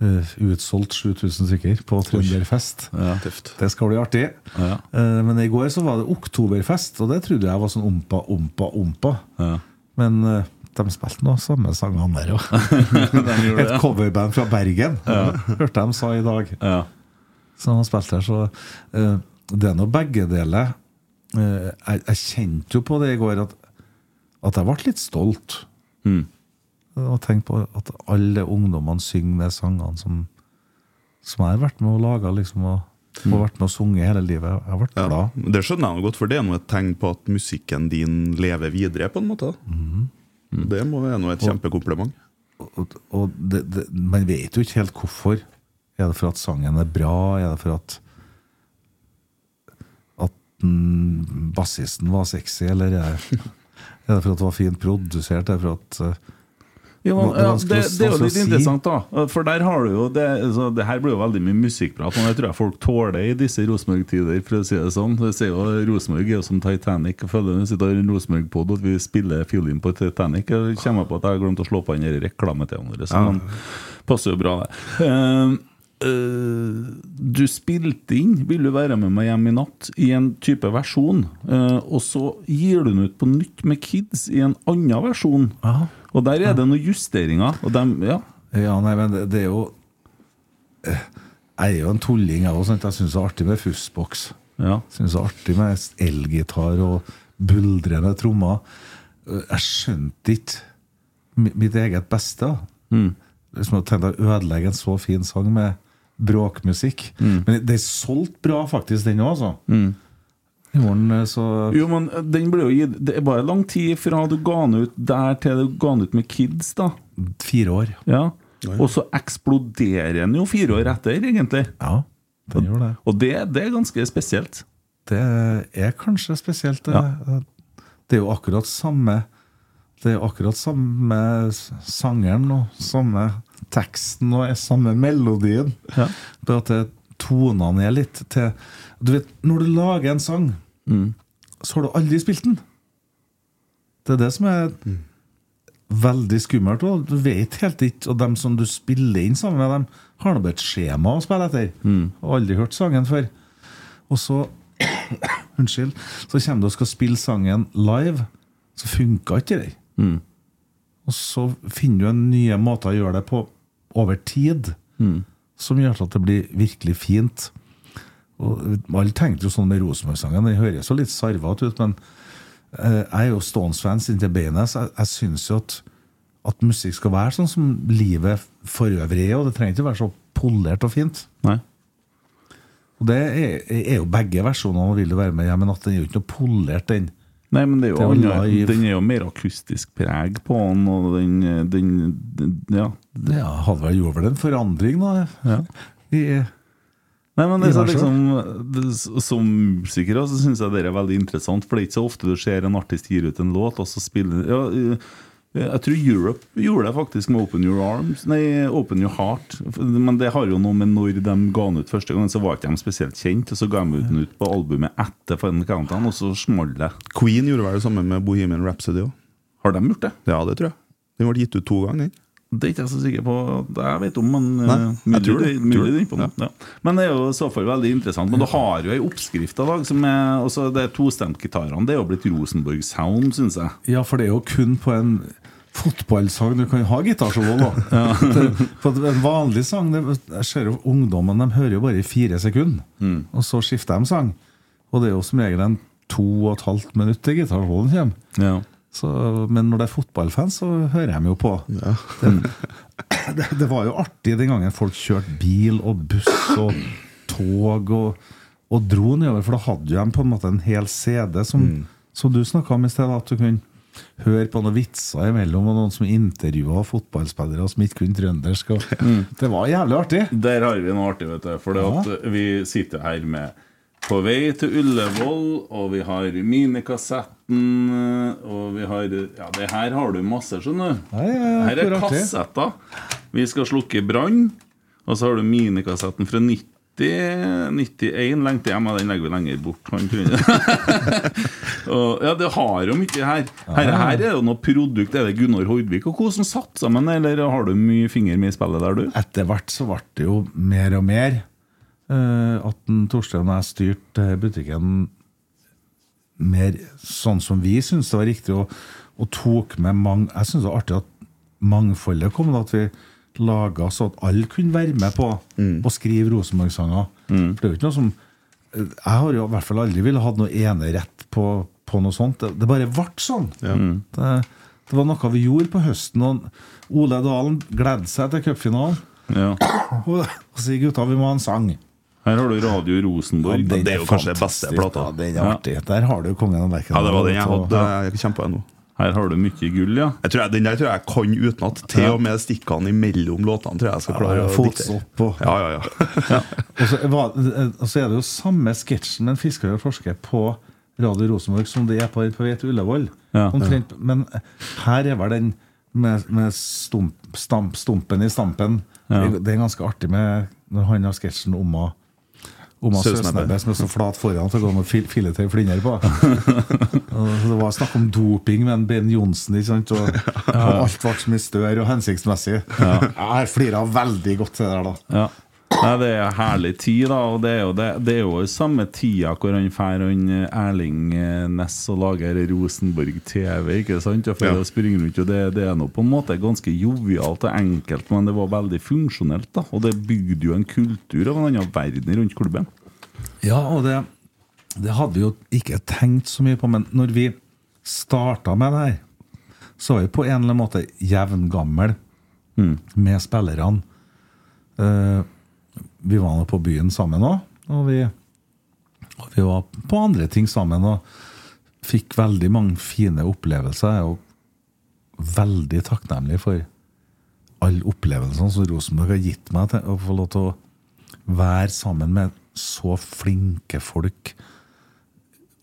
Eh, Utsolgt 7000 stykker på Trønderfest.
Tøft.
Det skal bli artig.
Ja.
Eh, Men i går så var det oktoberfest, og det trodde jeg var sånn ompa, ompa, ompa.
ja.
Men eh, de spilte nå samme sangene der òg.
De gjorde
Et
det.
coverband fra Bergen hørte jeg de sa i dag.
Ja.
som han spilte her. Så eh, det er nå begge deler. Eh, jeg, jeg kjente jo på det i går at, at jeg ble litt stolt.
Mm.
Og tenkte på at alle ungdommene synger de sangene som, som jeg har vært med og laga. Liksom, og, og vært med og sunget hele livet. Jeg ble
Ja,
glad.
Det skjønner jeg nå godt, for det er noe et tegn på at musikken din lever videre. på en måte da. Det må være noe et kjempekompliment.
Og, og det, det, man vet jo ikke helt hvorfor. Er det for at sangen er bra? Er det for at at mm, bassisten var sexy? Eller er, er det for at det var fint produsert? Er det for at eh,
Jo,
Hva-
men,
det er
ja,
vanskelig
det,
å-
det er jo
vanskelig å
litt
si.
interessant, da. For der har du jo Det, altså, det her blir jo veldig mye musikkprat, men det tror jeg folk tåler i disse Rosenborg-tider, for å si det sånn. Det ser jo, Rosenborg er jo som Titanic. Jeg føler vi sitter i en Rosenborg-pod og vi spiller fiolin på Titanic. Jeg kommer på at jeg har glemt å slå på den der reklame-TV-en vår, så den passer jo bra, det. Eh, eh, du spilte inn 'Vil du være med meg hjem i natt' i en type versjon, eh, og så gir du den ut på nytt med kids i en annen versjon.
Aha.
Og der er det noen justeringer. Og dem, ja.
Ja, nei, men det, det er jo Eh, Jeg er jo en tulling, jeg òg. Jeg syns det er artig med fussboks.
Ja.
Syns det er artig med elgitar og buldrende trommer. Eh, Jeg skjønte ikke mi- mitt eget beste. da. Liksom å tenke å ødelegge en så fin sang med bråkmusikk. Men det er solgt bra, faktisk, den òg, altså. I morgen eh, så
Jo, men den ble jo gitt Det er bare lang tid fra du ga den ut der til du ga den ut med kids, da.
Fire år.
Ja. Og så eksploderer den jo fire år etter, egentlig.
Ja, den gjør det.
Og det, det er ganske spesielt.
Det er kanskje spesielt. Det,
Ja.
det er jo akkurat samme Det er jo akkurat samme s- sangeren og samme teksten og er samme melodien.
Ja.
Bare at det- tonene er litt til Du vet, når du lager en sang,
Mm.
så har du aldri spilt den. Det er det som er veldig skummelt. Og du vet helt ikke Og dem som du spiller inn sammen med, dem har nå bare et skjema å spille etter.
Mm.
Har aldri hørt sangen før. Og så Unnskyld. Så kommer du og skal spille sangen live, så funker ikke det. Og så finner du en nye måter å gjøre det på over tid, som gjør at det blir virkelig fint. Og Alle tenkte jo sånn med Rosenborg-sangen. Den høres jo litt sarvete ut, men eh, jeg er jo Stones-fans inntil beinet, så jeg, jeg syns jo at, at musikk skal være sånn som livet for øvrig er, og det trenger ikke være så polert og fint.
Nei.
Og det er, er jo begge versjonene av Vil du være med hjem i natt. Den er jo ikke noe polert, den.
Nei, men det er jo,
Det er jo
andre-
live.
den er jo mer akustisk preg på den, og den, den, den Ja.
Ja, hadde vel gjort vel en forandring, da. I-
Nei, men
I
det, er
hva
liksom, det, som musiker så syns jeg det er veldig interessant. For det er ikke så ofte du ser en artist gir ut en låt, og så spiller ja, eh, Jeg tror Europe gjorde det faktisk med Open Your Arms Nei, Open Your Heart. Men det har jo noe med når de ga den ut første gang, så var ikke de spesielt kjent. Og så ga de den ut på albumet etter Final Countdown, og så smalt det.
Queen gjorde vel det samme med Bohemian Rhapsody òg.
Har de gjort det?
Ja, det tror jeg. Den ble gitt ut to ganger, den.
Det er ikke jeg så sikker på at jeg vet om, men
Nei,
eh,
jeg tror det.
mulig- mulig
Tror det.
det er på den, ja. Men det er jo i så fall veldig interessant. Men du har jo ei oppskrift i dag som er også det tostemtgitarene. Det er jo blitt Rosenborg Sound, syns jeg.
Ja, for det er jo kun på en fotballsang du kan ha gitarsolo, da. Det- For at en vanlig sang det, Jeg ser jo ungdommen, de hører jo bare i fire sekunder. Og så skifter de sang. Og det er jo som regel en to og et halvt minutt til gitarsoloen kommer.
Ja.
Så, men når det er fotballfans, så hører jeg dem jo på. Det, det, det var jo artig den gangen folk kjørte bil og buss og tog og, og dro nedover, for da hadde jo de på en måte en hel CD, som, som du snakka om i sted, at du kunne høre på noen vitser imellom, og noen som intervjua fotballspillere som ikke kunne trøndersk. Og, Det var jævlig artig!
Der har vi noe artig, vet du. For det at vi sitter her med På vei til Ullevål, og vi har Minikassetten, og vi har Ja, det her har du masse, skjønner du.
Nei, ja,
her er
hvor artig.
kassetter. Vi skal slukke brann. Og så har du minikassetten fra 90 91 lengte hjem, og den legger vi lenger bort. Han kunne- og, ja, det har jo mye her. Her, her er jo noe produkt. Er det Gunnar Hordvik og co. som satte sammen, eller har du mye finger med i spillet der, du?
Etter hvert så ble det jo mer og mer eh, at en Torstein og jeg styrte butikken mer sånn som vi syntes det var riktig, og, og tok med mange Jeg syns det var artig at mangfoldet kom, da, at vi laga så at alle kunne være med på å skrive Rosenborg-sanger. For det er jo ikke noe som Jeg har jo i hvert fall aldri ville hatt noe enerett på, på noe sånt. Det, det bare ble sånn.
Mm.
Det, det var noe vi gjorde på høsten, og Ole Dalen gledde seg til cupfinalen.
Ja.
Og og sier gutta, vi må ha en sang.
Her har du Radio Rosenborg.
det er jo kanskje den beste
fantastisk,
plata.
da. Den er artig. Der har du kongen av verken.
Ja, det var den jeg hadde. Jeg kjenner på det nå.
Her har du mye gull, ja.
Jeg tror jeg, den der tror jeg jeg kan utenat. Til og med stikkene imellom låtene tror jeg jeg skal klare
Ja,
å diktere.
fotsopp og-
Ja, ja, ja.
Og så, var, og så er det jo samme sketsjen med en fisker og en forsker på Radio Rosenborg som det er på, på vei til Ullevål.
Ja.
Omtrent, men her er vel den med, med stump, stamp, stumpen i stampen. Det er ganske artig med når han har sketsjen om å om å ha
Søsnebbe.
søsnebbe som er så flat foran til å gå med fil, filetøy flinner på. Og det var snakk om doping med en Ben Johnsen, ikke sant? Og, og alt ble så mye større og hensiktsmessig. Jeg flira veldig godt til det der, da.
ja. Nei, det er herlig tid, da. Og det er jo, det, det er jo i samme tida hvor han drar han eh, Erling eh, Næss og lager Rosenborg TV, ikke sant? Og for
Ja.
å springe rundt, og det, det er nå på en måte ganske jovialt og enkelt, men det var veldig funksjonelt, da. Og det bygde jo en kultur av en annen verden rundt klubben.
Ja, og det, det hadde vi jo ikke tenkt så mye på, men når vi starta med det her, så var vi på en eller annen måte jevngammel med spillerne. Eh, vi var nå på byen sammen òg, og, vi- og vi var på andre ting sammen. Og fikk veldig mange fine opplevelser. Jeg er jo veldig takknemlig for alle opplevelsene som Rosenborg har gitt meg, til å få lov til å være sammen med så flinke folk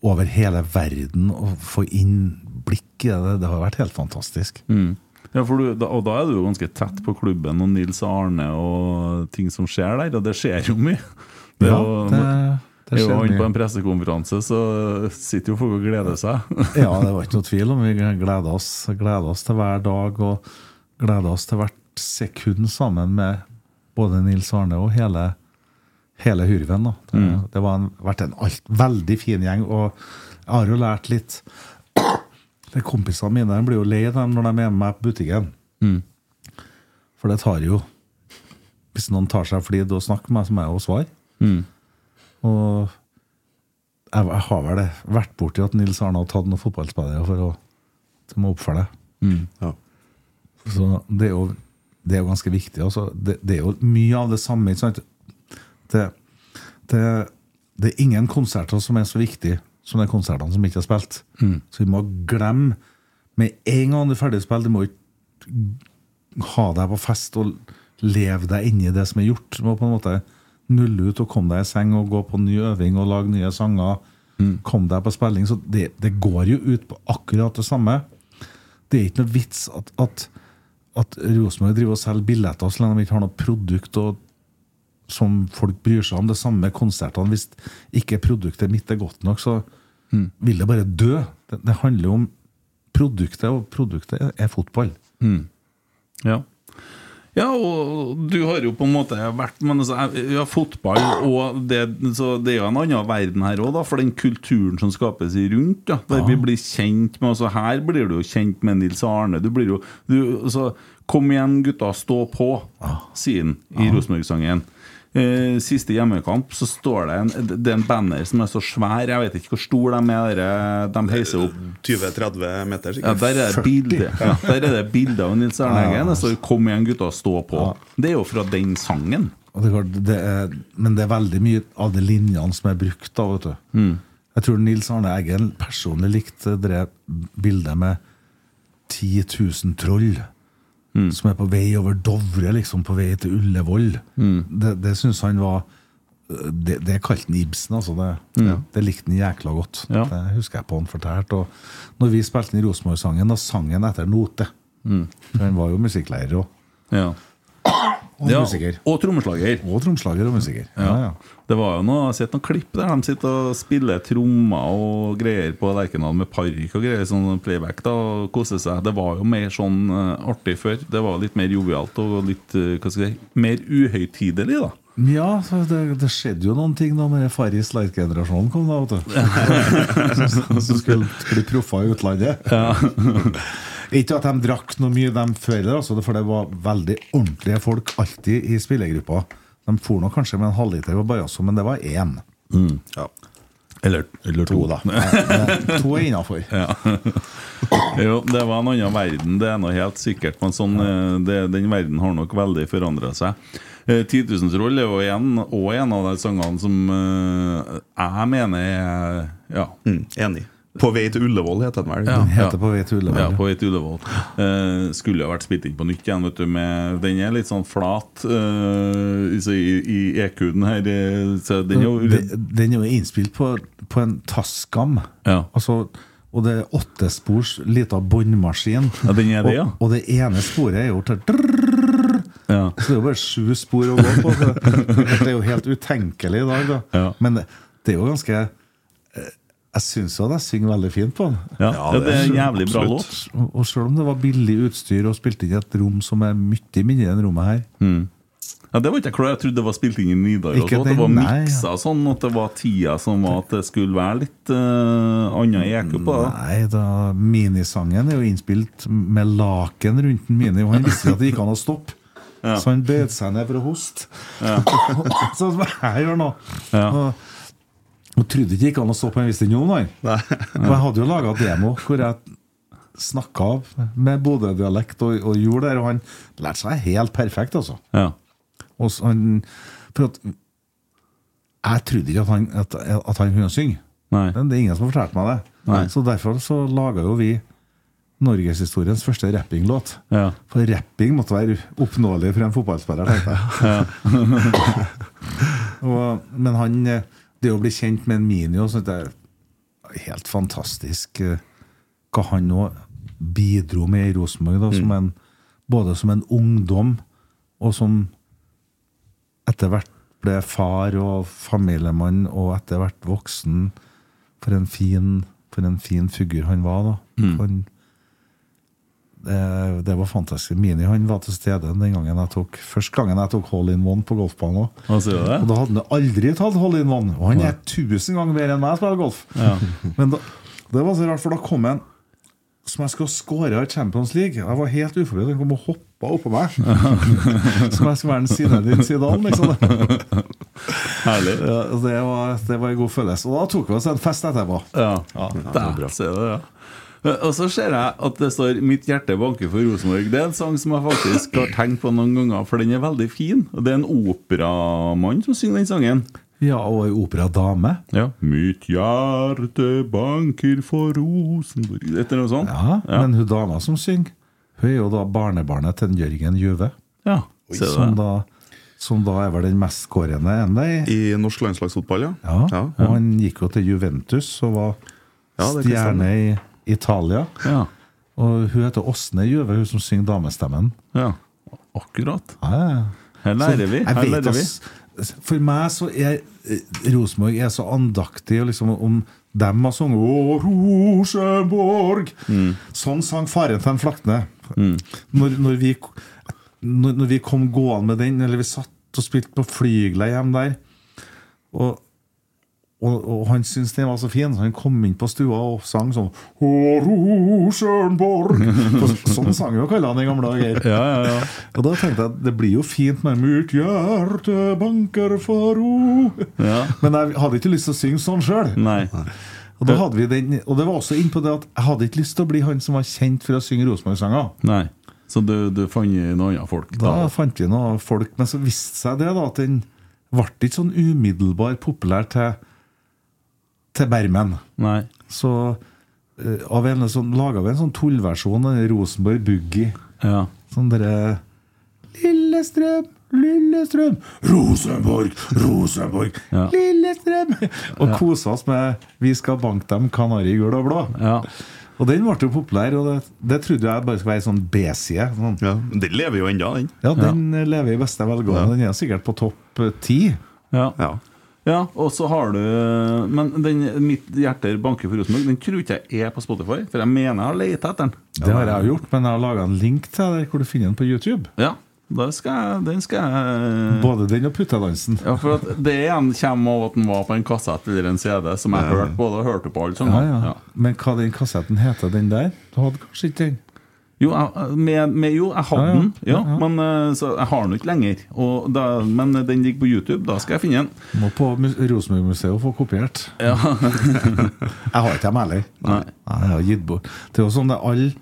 over hele verden og få innblikk i det. Det har vært helt fantastisk.
Mm. Ja, for du, da, Og da er du jo ganske tett på klubben og Nils Arne og ting som skjer der, og det skjer jo mye. Det er
Ja,
jo-
det, det
er jo
skjer
han på
mye.
en pressekonferanse, så sitter jo folk og gleder seg.
Ja, det var ikke noe tvil om vi gleder oss, gleder oss til hver dag og gleder oss til hvert sekund sammen med både Nils Arne og hele, hele Hurven. Da. Det, det har vært en alt, veldig fin gjeng, og jeg har jo lært litt de Kompisene mine de blir jo lei dem når de er med meg på butikken. For det tar jo Hvis noen tar seg flid og snakker med meg, så må jeg jo svare. Og jeg, jeg har vel det. vært borti at Nils Arne har tatt noen fotballspillere for å som må oppføre det.
ja.
Så det er jo, det er jo ganske viktig. Altså. Det, det er jo mye av det samme. Ikke sant? Det, det, det er ingen konserter som er så viktig som de konsertene som ikke er spilt. Så vi må glemme Med en gang du er ferdig spilt, du må ikke ha deg på fest og leve deg inni det som er gjort. Du må på en måte nulle ut og komme deg i seng og gå på ny øving og lage nye sanger. Komme deg på spilling. Så det, det går jo ut på akkurat det samme. Det er ikke noe vits at, at, at Rosenborg driver og selger billetter så lenge de ikke har noe produkt og, som folk bryr seg om. Det samme med konsertene. Hvis ikke produktet mitt er godt nok, så vil det bare dø. Det, det handler jo om produktet, og produktet er- er fotball.
Ja. ja, og du har jo på en måte vært Men altså, jeg- ja, fotball og det, så det er jo en annen verden her òg, for den kulturen som skapes i rundt. Da, der vi blir kjent med altså, Her blir du jo kjent med Nils Arne. Du blir jo du, altså, Kom igjen, gutta, stå på, sier han i Rosenborg-sangen. Eh, siste hjemmekamp så står det en, det er en banner som er så svær, jeg vet ikke hvor stor de er, dere- de heiser opp
20-30 meter,
Ja,
sikkert.
der er det bilde ja, Der er det bilde av Nils Arne Eggen. og Så kom igjen, gutta, stå på. Det er jo fra den sangen.
Og det er, klart, det er, men det er veldig mye av de linjene som er brukt.
Mm.
da, vet du. Jeg tror Nils Arne Eggen personlig likte det bildet med 10 000 troll
Mm.
som er på vei over Dovre, liksom, på vei til Ullevål.
Mm.
Det, det syns han var det, det kalte han Ibsen, altså. Det, det likte han jækla godt.
Mm. Ja.
Det husker jeg på han fortalte. Og når vi spilte den Rosenborg-sangen, da sang han etter note.
Mm.
For han var jo musikklærer og,
Ja.
og
ja.
musiker.
Og trommeslager.
Og tromslager og musiker. Ja, ja.
Det var jo noe, Jeg har sett noen klipp der de sitter og spiller trommer og greier på Lerkendal med park og greier. Sånn playback da, og koser seg. Det var jo mer sånn eh, artig før. Det var litt mer jovialt og litt eh, hva skal jeg si, mer uhøytidelig, da.
Ja, så det, det skjedde jo noen ting da med Farris Light-generasjonen kom, da, vet du. Som- Som skulle bli proffer i utlandet. Ikke at de drakk noe mye, de før, altså, for det var veldig ordentlige folk alltid i spillergruppa. De for nå kanskje med en halvliter på Bajasso, men det var én.
Ja.
Eller,
To, da. Nei, nei, To er innafor.
Jo, det var en annen verden, det er noe helt sikkert. Men sånn, eh, det, den verden har nok veldig forandra seg. Eh, 10 000 troll er jo en, også en av de sangene som eh, jeg mener er Ja.
Mm, enig. På vei til Ullevål heter den vel.
Ja.
Heter på vei til
Ja,
Ullevål.
på et Ullevål. Eh, skulle ha vært spilt inn på nytt igjen. Vet du, med, den er litt sånn flat eh, så i, i EQ-en her. eh, Så den er jo
Den den er jo innspilt på, på en Tascam.
Ja.
Altså, og det er åttespors lita båndmaskin.
Ja, den er det, ja.
og, og det ene sporet er jo til
ja.
Så det er jo bare sju spor å gå på. Så det er jo helt utenkelig i dag, da.
Ja.
Men det, det er jo ganske eh, Jeg syns jo at jeg synger veldig fint på den.
Ja,
Ja,
ja, det er en
det er
jævlig bra
absolutt.
låt.
Og og selv om det var billig utstyr og spilte inn i et rom som er mye mindre enn rommet her,
Ja, det var ikke jeg klar over. Jeg trodde det var spilt inn i Nidaros.
Ikke
At det
den,
var
nei, ja.
miksa sånn, at det var tida som var at det skulle være litt uh, annen EQ på det.
Nei, da, minisangen er jo innspilt med laken rundt den mini, og han visste at det gikk an å stoppe. Så han bød seg ned for å hoste. Sånn som jeg gjør nå.
Ja.
Og, og trodde ikke det gikk an å stoppe, men visste ikke noe om han. Og jeg hadde jo laga demo hvor jeg snakka med Bodø-dialekt og, og gjorde det, her, og han lærte seg helt perfekt, altså.
Ja.
Og så han, for at, jeg trodde ikke at han, at, at han kunne synge.
Nei.
Men det er ingen som har fortalt meg det.
Nei.
Så derfor så laga jo vi norgeshistoriens første rappinglåt.
Ja.
For rapping måtte være oppnåelig for en fotballspiller, tenkte jeg. og, men han eh, Det å bli kjent med en mini og sånt, det er helt fantastisk eh, hva han nå bidro med i Rosenborg, da, som en, både som en ungdom og som etter hvert ble far og familiemann, og etter hvert voksen. For en fin, for en fin figur han var, da. Han, Eh, det, det var fantastisk. Mini han var til stede den gangen jeg tok første gangen jeg tok hole in one på golfbanen. også.
Hva sier du
Og
det?
da hadde han aldri tatt hole in one. Og han er tusen ganger bedre enn meg spiller golf. Men da, det var så rart, for da kom en som jeg skulle skåre i Champions League. Jeg var helt uforberedt. Han kom og hoppa oppå meg. som jeg skulle være en Zinedine Zidane, liksom.
Herlig.
Ja, det, var, det var en god følelse. Og da tok vi oss en fest etterpå.
Ja, der ser du det, ja. Eh, Og så ser jeg at det står 'Mitt hjerte banker for Rosenborg'. Det er en sang som jeg faktisk har tenkt på noen ganger, for den er veldig fin. Og det er en operamann som synger den sangen.
Ja, og ei operadame.
Mitt hjerte banker for Rosenborg Etter noe sånt?
Ja, Men hun dama som synger, hun er jo da barnebarnet til Jørgen Juve.
ja. Ser du
Som
det?
da, som da er vel den mest skårende ennå. i-
I norsk landslagsfotball, ja.
Ja.
Ja.
Og han gikk jo til Juventus og var
Ja, det kan
stjerne i Italia.
Ja.
Og hun heter Åsne Juve, hun som synger damestemmen.
Ja, akkurat.
Ja, ja, ja.
Her lærer vi.
Sånn, Jeg
Her
vet,
lærer vi.
ass. For meg så er eh, Rosenborg er så andaktig, og liksom om dem har sunget Å, Rosenborg!
Mm.
Sånn sang faren til en Flakne. Når, når, vi, når, når vi kom gående med den, eller vi satt og spilte på flygla hjem der og, og, og han syntes den var så fin, så han kom inn på stua og sang sånn Å, Rosenborg! For Sånn sang jo kalla han i gamle dager.
Ja, ja, ja.
Og da tenkte jeg at det blir jo fint med Mitt hjerte banker for ro
Ja.
Men jeg hadde ikke lyst til å synge sånn sjøl.
Nei.
Og, da hadde vi den- og det var også inn på det at jeg hadde ikke lyst til å bli han som var kjent for å synge Rosenborg-sanger.
Nei. Så du, du fant noen andre folk?
Da
Da.
fant vi noen folk, men så viste seg det da at den ble ikke sånn umiddelbar populær til, til Bermen.
Nei.
Så eh, av en sånn, laga vi en sånn tullversjon av den Rosenborg Boogie.
Ja.
Sånn derre Lillestrøm, Lillestrøm, Rosenborg, Rosenborg,
Ja.
Lillestrøm! Og kosa oss med 'Vi skal banke dem, kanari i gul og blå'.
Ja.
Og den ble jo populær, og det, det trodde jeg bare skulle være sånn B-side. Sånn.
Ja, men Den lever jo ennå, den.
Ja, den eh, lever i beste velgående. Den er sikkert på topp eh, ti.
Ja.
Ja.
ja. Og så har du Men den mitt hjerte banker for Rosenborg, den tror ikke jeg er på Spotify, for jeg mener jeg har leta etter den.
Det har jeg jo gjort, men jeg har laga en link til der hvor du finner den på YouTube.
Ja. Da skal jeg, den skal jeg
Både den og puttedansen.
Ja, for at det igjen kommer av at den var på en kassett eller en CD som jeg hørte på. Da hørte du på alle
Ja,
sangene.
ja.
Ja.
Men hva den kassetten heter, den der? Du hadde kanskje ikke den?
Jo, jeg, med, med, jo, jeg hadde
Ja, ja.
den, ja, men eh, så jeg har den ikke lenger. Og da, men den ligger på YouTube, da skal jeg finne den.
Må på mu- Rosenborg-museet og få kopiert.
Ja.
Jeg har ikke dem heller.
Nei.
Nei, jeg har gitt bort. Det er jo sånn det er alle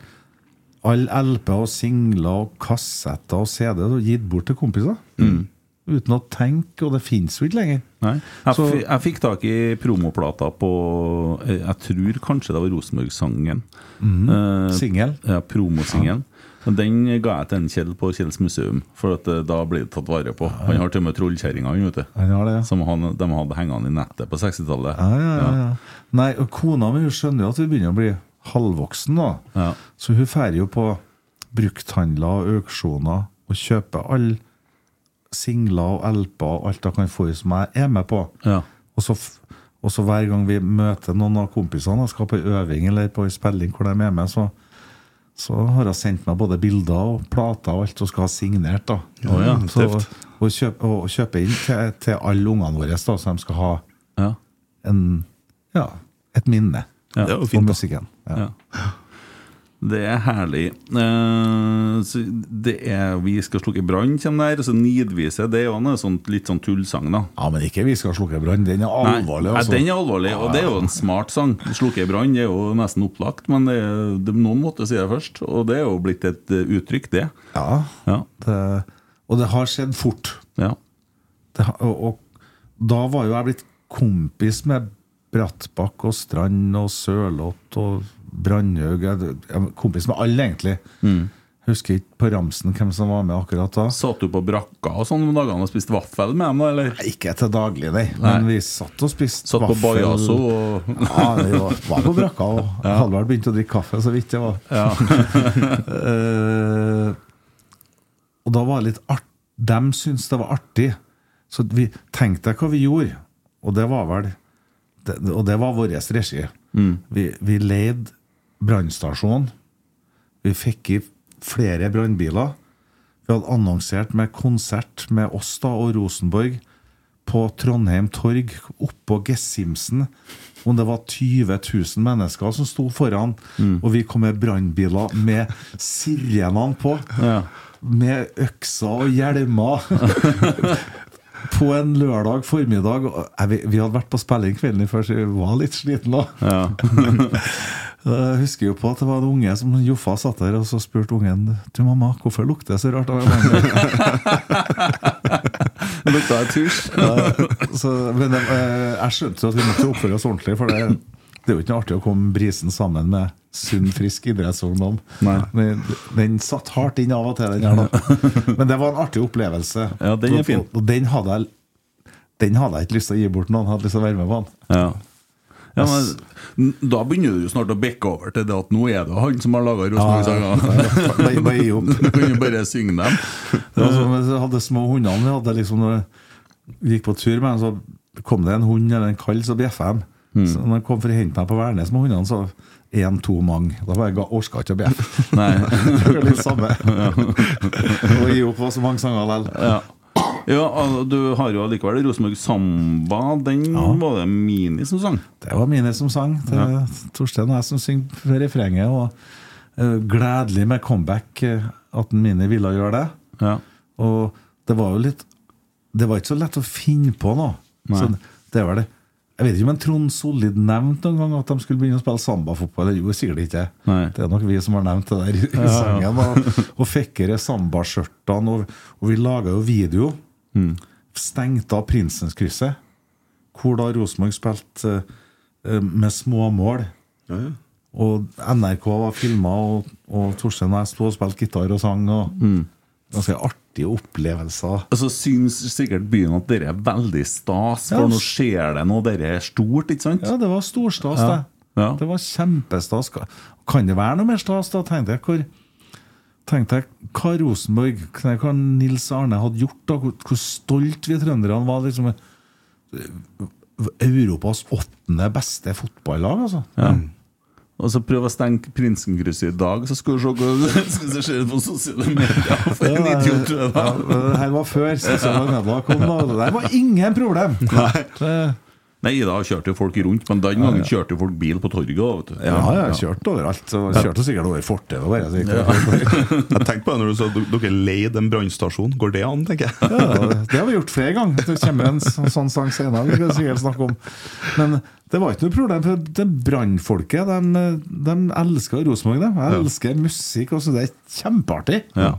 all LP og singler og kassetter og CD er gitt bort til kompiser.
Mm.
Uten å tenke, og det fins jo ikke lenger.
Nei. Jeg,
Så-
fi- jeg fikk tak i promoplata på eh, Jeg tror kanskje det var Rosenborg-sangen. Eh,
Singel.
ja, Promosingelen. Og Den ga jeg til en Kjell på Kjells museum, for at eh, da blir det tatt vare på. Han har til og med trollkjerringa, han, vet du.
Han har det, ja.
Som han, de hadde hengende i nettet på 60-tallet.
Ja, ja, ja, ja. Nei, og kona mi hun skjønner jo at vi begynner å bli halvvoksen nå.
Ja.
Så hun drar jo på brukthandler og auksjoner og kjøper alle singler og LP-er og alt hun kan få som jeg er med på.
Ja.
Og, så, f- og så hver gang vi møter noen av kompisene og skal på øving eller på en spilling hvor de er med, så, så har hun sendt meg både bilder og plater og alt hun skal ha signert. da. Mm,
Å ja,
så,
tøft.
og, kjøp, og kjøpe inn til, til alle ungene våre, da, så de skal ha
Ja.
en, ja, et minne
Ja.
Det er jo
om
fint. da.
musikken. Ja.
Ja. Det er herlig. Eh, så det er 'Vi skal slukke brann' kommer der. Og så 'Nidvise' det er jo en sånn, litt sånn tullsang, da.
Ja, men ikke 'Vi skal slukke brann'. Den er
Nei,
alvorlig.
nei,
altså.
den er alvorlig, og det er jo en smart sang. 'Slukke brann' er jo nesten opplagt, men det er, det, noen måtte si det først. Og det er jo blitt et eh, uttrykk, det.
Ja,
Ja.
det, og det har skjedd fort.
ja.
Det, har- og, og da var jo jeg blitt kompis med Brattbakk og Strand og Sørloth og Brandhaug. Jeg jeg var Kompis med alle, egentlig.
Mm.
Husker ikke på ramsen hvem som var med akkurat da.
Satt du på brakka og sånn om dagene og spiste vaffel med dem, da, eller?
Nei, Ikke til daglig, nei. Men vi satt og spiste
Satt på
vaffel.
Bajaso og
Ja, vi var, var på brakka og hadde vel begynt å drikke kaffe, så vidt det var. Eh, og da var det litt art De syntes det var artig. Så vi tenkte deg hva vi gjorde. Og det var vel det, Og det var vår regi. Vi, vi leide brannstasjon. Vi fikk i flere brannbiler. Vi hadde annonsert med konsert med oss da og Rosenborg på Trondheim torg oppå Gessimsen. Om det var 20 000 mennesker som sto foran, og vi kom med brannbiler med sirenene på. Med økser og hjelmer. på en lørdag formiddag. og- Nei, vi, vi hadde vært på spilling kvelden før, så vi var litt slitne da. Jeg husker jo på at det var en unge som Joffa satt der, og så spurte ungen Du mamma, hvorfor lukter det så rart av vannet?
lukta jeg tusj.
så, men det, eh, jeg skjønte jo at vi måtte oppføre oss ordentlig, for det, det er jo ikke noe artig å komme brisen sammen med sunn, frisk idrettsungdom.
Nei.
Men den satt hardt inn av og til, den her, da. Men det var en artig opplevelse.
Ja, den er fin.
Og, og den hadde jeg den hadde jeg ikke lyst til å gi bort noen. Hadde lyst til å være med på den.
Ja. Ja, men, n- da begynner du jo snart å bikke over til det at nå er det han som har laga Rosenborg-sangene.
Bare- Bare gi opp.
Du kan jo bare synge dem.
Det var som vi hadde små hundene. Vi hadde liksom, når vi gikk på tur med dem, så kom det en hund eller en kall, så bjeffa de.
Mm.
Så når de kom for å hente meg på Værnes med hundene, så én-to mang. Da var jeg ga- orka ikke å bjeffe.
Nei.
Det var litt samme. Og gi opp var så mange sanger likevel.
Ja. Ja, al- Du har jo allikevel Rosenborg Samba. Den var det Mini som sang.
Det var mine som sang. Det er Torstein og jeg som synger refrenget. Og eh, gledelig med comeback eh, at mine ville gjøre det.
Ja.
Og det var jo litt Det var ikke så lett å finne på noe.
Nei.
Så det var det. Jeg vet ikke om en Trond Solid nevnte noen gang at de skulle begynne å spille sambafotball. Det gjorde sikkert ikke
Nei.
Det er nok vi som har nevnt det der i i sangen. Og, og fekkere sambaskjørtene. Og, og vi laga jo video.
Mm.
Stengte av Prinsenskrysset. Hvor da Rosenborg spilte eh, eh, med småmål. Og NRK var filma, og, og Torstein og jeg sto og spilte gitar og sang. Og
Mm.
Ganske artige opplevelser.
Og så syns sikkert byen at dere er veldig stas, for
Ja.
nå skjer det noe, dere er stort, ikke sant?
Ja, det var storstas, det.
Ja.
Det var kjempestas. Ka- Kan det være noe mer stas, da? Tenkte jeg hvor tenkte jeg hva Rosenborg, nei, hva Nils Arne hadde gjort, da, hvor, hvor stolt vi trønderne var. liksom Europas åttende beste fotballag, altså.
Og så prøv å stenge Prinsenkrysset i dag, så skal du se hva skal du se det på sosiale medier. For en idiot du er, da.
Ja, men det her var før sosiale medier kom, og det der var ingen problem. Det-
Nei, da kjørte jo folk rundt, men den gangen kjørte jo folk bil på torget. da, Vet du.
Ja, jeg kjørte overalt. så Kjørte sikkert over fortauet bare. så gikk det-
Jeg tenkte på det når du sa at dere leide en brannstasjon. Går det an, tenker jeg?
Ja, det har vi gjort flere ganger. Det kommer en sånn, sånn sang senere. Vi skal sikkert snakke om Men det var ikke noe problem. For det brannfolket de, de elsker Rosenborg. De. Jeg elsker musikk. Også. Det er kjempeartig.
Ja.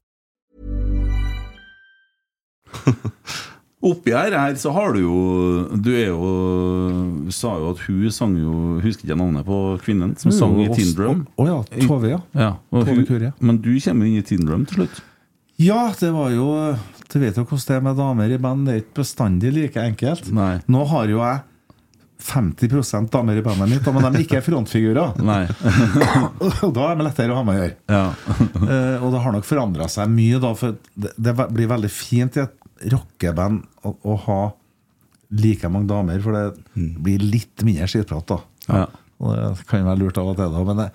Oppi her, her så har du jo Du er jo sa jo at hun sang jo Husker ikke navnet på kvinnen som sang i Teen Drum.
Mm. Å ja. Tove, ja.
Mm, Ja, og
Tove Kure.
hun, men du kommer inn i Teen Drum til slutt.
Ja, det var jo Du vet jo hvordan det er med damer i band. Det er ikke bestandig like enkelt.
Nei.
Nå har jo jeg 50 damer i bandet mitt, da, men de ikke er frontfigurer.
Nei.
Og Da er det lettere å ha med å gjøre.
Ja.
Eh, og det har nok forandra seg mye, da, for det, det ve- blir veldig fint i et rockeband å, å ha like mange damer, for det
Mm.
blir litt mindre skitprat, da.
Ja.
Og det kan jo være lurt av og til, da, men det,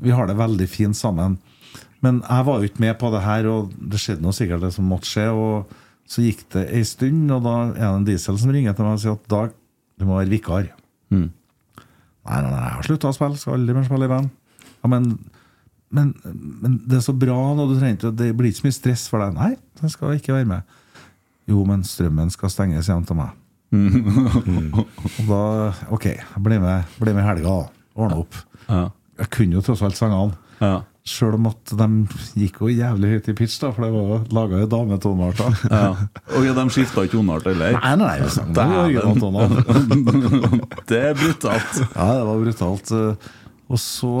vi har det veldig fint sammen. Men jeg var jo ikke med på det her, og det skjedde noe sikkert det som måtte skje. Og så gikk det ei stund, og da er det en diesel som ringer til meg og sier at Dag, du må være vikar. Nei, nei, nei, jeg har slutta å spille, skal aldri mer spille i band. Ja, men, men, men det er så bra nå, du trenger ikke, det blir ikke så mye stress for deg. Nei, jeg skal ikke være med. Jo, men strømmen skal stenges igjen til meg. Og da, ok, bli med, bli med i helga, da. Ordne opp.
Ja.
Jeg kunne jo tross alt sangene.
Ja.
Sjøl om at de gikk jo jævlig høyt i pitch, da, for det var laga jo dametonearter.
ja. Og ja, de skifta ikke toneart heller.
Nei, nei, vi sang jo
Dæven.
originaltonene.
Det er brutalt.
Ja, det var brutalt. Eh, Og så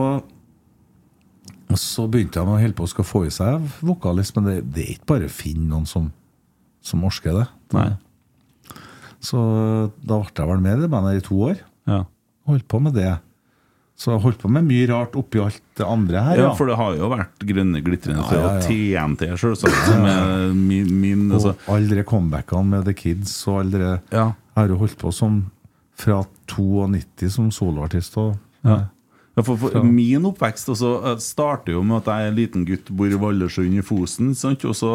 og så begynte han å holde på å skal få i seg vokalist, men det, det er ikke bare å finne noen som, som orsker det.
Nei.
Så eh, da ble jeg vel med i det bandet i to år.
Ja.
Holdt på med det. Så jeg holdt på med mye rart oppi alt det andre her.
Ja, for det har jo vært grønne glitrende frø
Ja, ja, ja.
og TNT, selvsagt, som er min, min altså,
Og alle de comebackene med The Kids og alle de
Ja.
Jeg har jo holdt på som fra 92 som soloartist. Og,
ja. Ja, For, for Min oppvekst også, eh, starter jo med at jeg er en liten gutt, bor i Vallersund i Fosen. Sant? Og så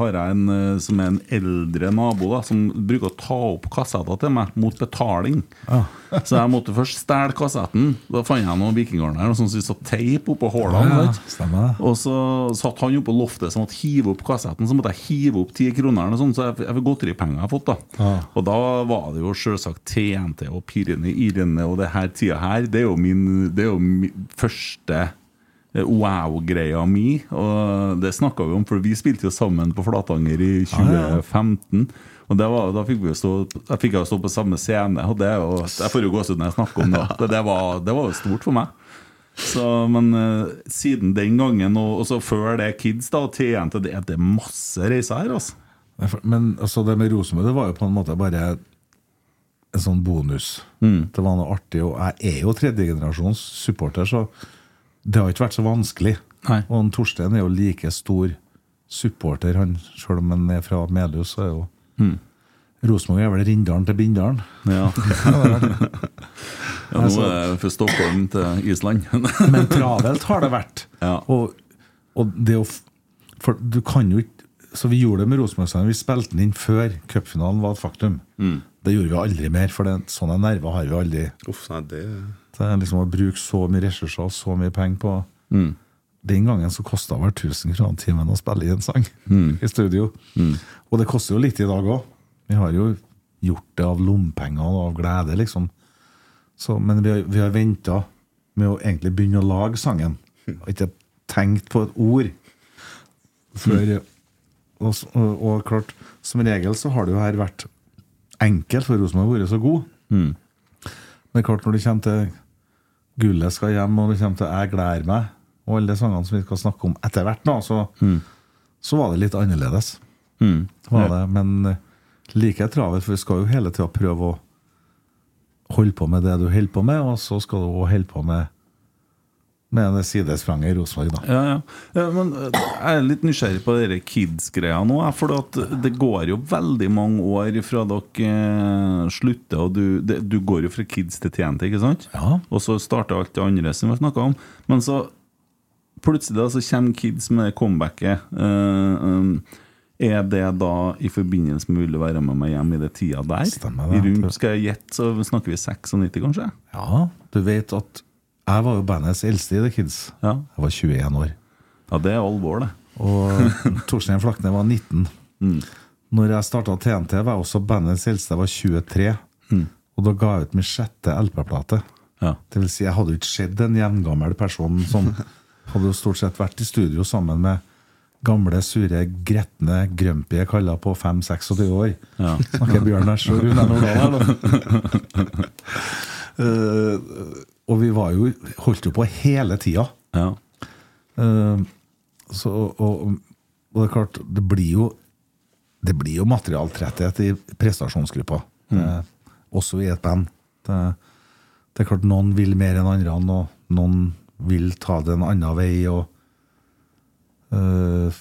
har jeg en eh, som er en eldre nabo, da, som bruker å ta opp kassetter til meg mot betaling. så jeg måtte først stjele kassetten. Da fant jeg noen vikingarner og sånn som vi satt teip oppå hullene.
Ja,
sant?
stemmer det.
og så satt han oppå loftet som måtte hive opp kassetten. Så måtte jeg hive opp ti kroner, eller noe sånt, så jeg, jeg fikk godteripenger jeg har fått. da
Ja.
Og da var det jo selvsagt TNT og Pirene Irene og det her tida her. Det er jo min, det er jo min første eh, wow-greia mi. Og det snakka vi om, for vi spilte jo sammen på Flatanger i 2015. Og det var, da fikk vi jo stå, da fikk jeg jo stå på samme scene, og det er jo, jeg får jo gåsehud når jeg snakker om det. Det, det, var, det var jo stort for meg. Så, men eh, siden den gangen, og, og så før det Kids da, og TNT, det, det er masse reiser her, altså.
Nei, for- Men altså, det med Rosenborg det var jo på en måte bare en sånn bonus.
Mm.
Det var noe artig. Og jeg er jo tredjegenerasjons supporter, så det har ikke vært så vanskelig.
Nei.
Og en Torstein er jo like stor supporter, han sjøl om han er fra Melhus. Så er jo
Mm.
Rosenborg er vel Rindalen til Bindalen.
Ja. nå er det fra Eh, Stockholm til Island.
Men travelt har det vært.
Ja.
Og, og det å f- For du kan jo ikke Så vi gjorde det med Rosenborg-sangen. Vi spilte den inn før cupfinalen var et faktum. Det gjorde vi aldri mer, for det, sånne nerver har vi aldri.
Uff, nei, det
Det er liksom Å bruke så mye ressurser og så mye penger på Den gangen så kosta det vel 1000 kroner timen å spille i en sang i studio. Og det koster jo litt i dag òg. Vi har jo gjort det av lompenger og av glede, liksom. Så, men vi har, vi har venta med å egentlig begynne å lage sangen, og ikke tenkt på et ord før og, s- og, og klart, som regel så har det jo her vært enkelt, for Rosenborg har vært så god. Men det er klart, når det kommer til Gullet skal hjem, og det kommer til Jeg gleder meg, og alle de sangene som vi skal snakke om etter hvert, nå, så, så var det litt annerledes. Var det, men eh, like travelt, for vi skal jo hele tida prøve å holde på med det du holder på med, og så skal du òg holde på med med det sidespranget i Rosenborg, da.
Ja, ja. Eh, Men eh, jeg er litt nysgjerrig på dere kids-greia nå. jeg, For at det går jo veldig mange år fra dere eh, slutter og du, det, du går jo fra kids til TNT, ikke sant?
Ja.
Og så starter alt det andre som vi snakka om. Men så plutselig da, så kommer kids med det comebacket. Eh, um, er det da i forbindelse med 'Vil du være med meg hjem' i det tida der?
Stemmer det.
I rundt, skal jeg gjette, så snakker vi 96, kanskje?
Ja, du vet at jeg var jo bandets eldste i The Kids.
Ja.
Jeg var 21 år.
Ja, det er alvor, det.
Og Torstein Flakne var 19.
Mm.
Når jeg starta TNT, var jeg også bandets eldste. Jeg var 23. Og da ga jeg ut min sjette LP-plate.
Mm. Ja.
Det vil si, jeg hadde jo ikke sett en jevngammel person som hadde jo stort sett vært i studio sammen med gamle, sure, gretne, grumpy kaller på 5-26 år.
Ja.
Snakker Bjørn Næss og Rune Nordahl her, da. Eh, og vi var jo, holdt jo på hele tida.
Ja.
Eh, så, og, og, og det er klart, det blir jo Det blir jo materialtretthet i prestasjonsgruppa, eh, også i et band. Det, det er klart noen vil mer enn andre, og noen vil ta det en annen vei. Og, eh,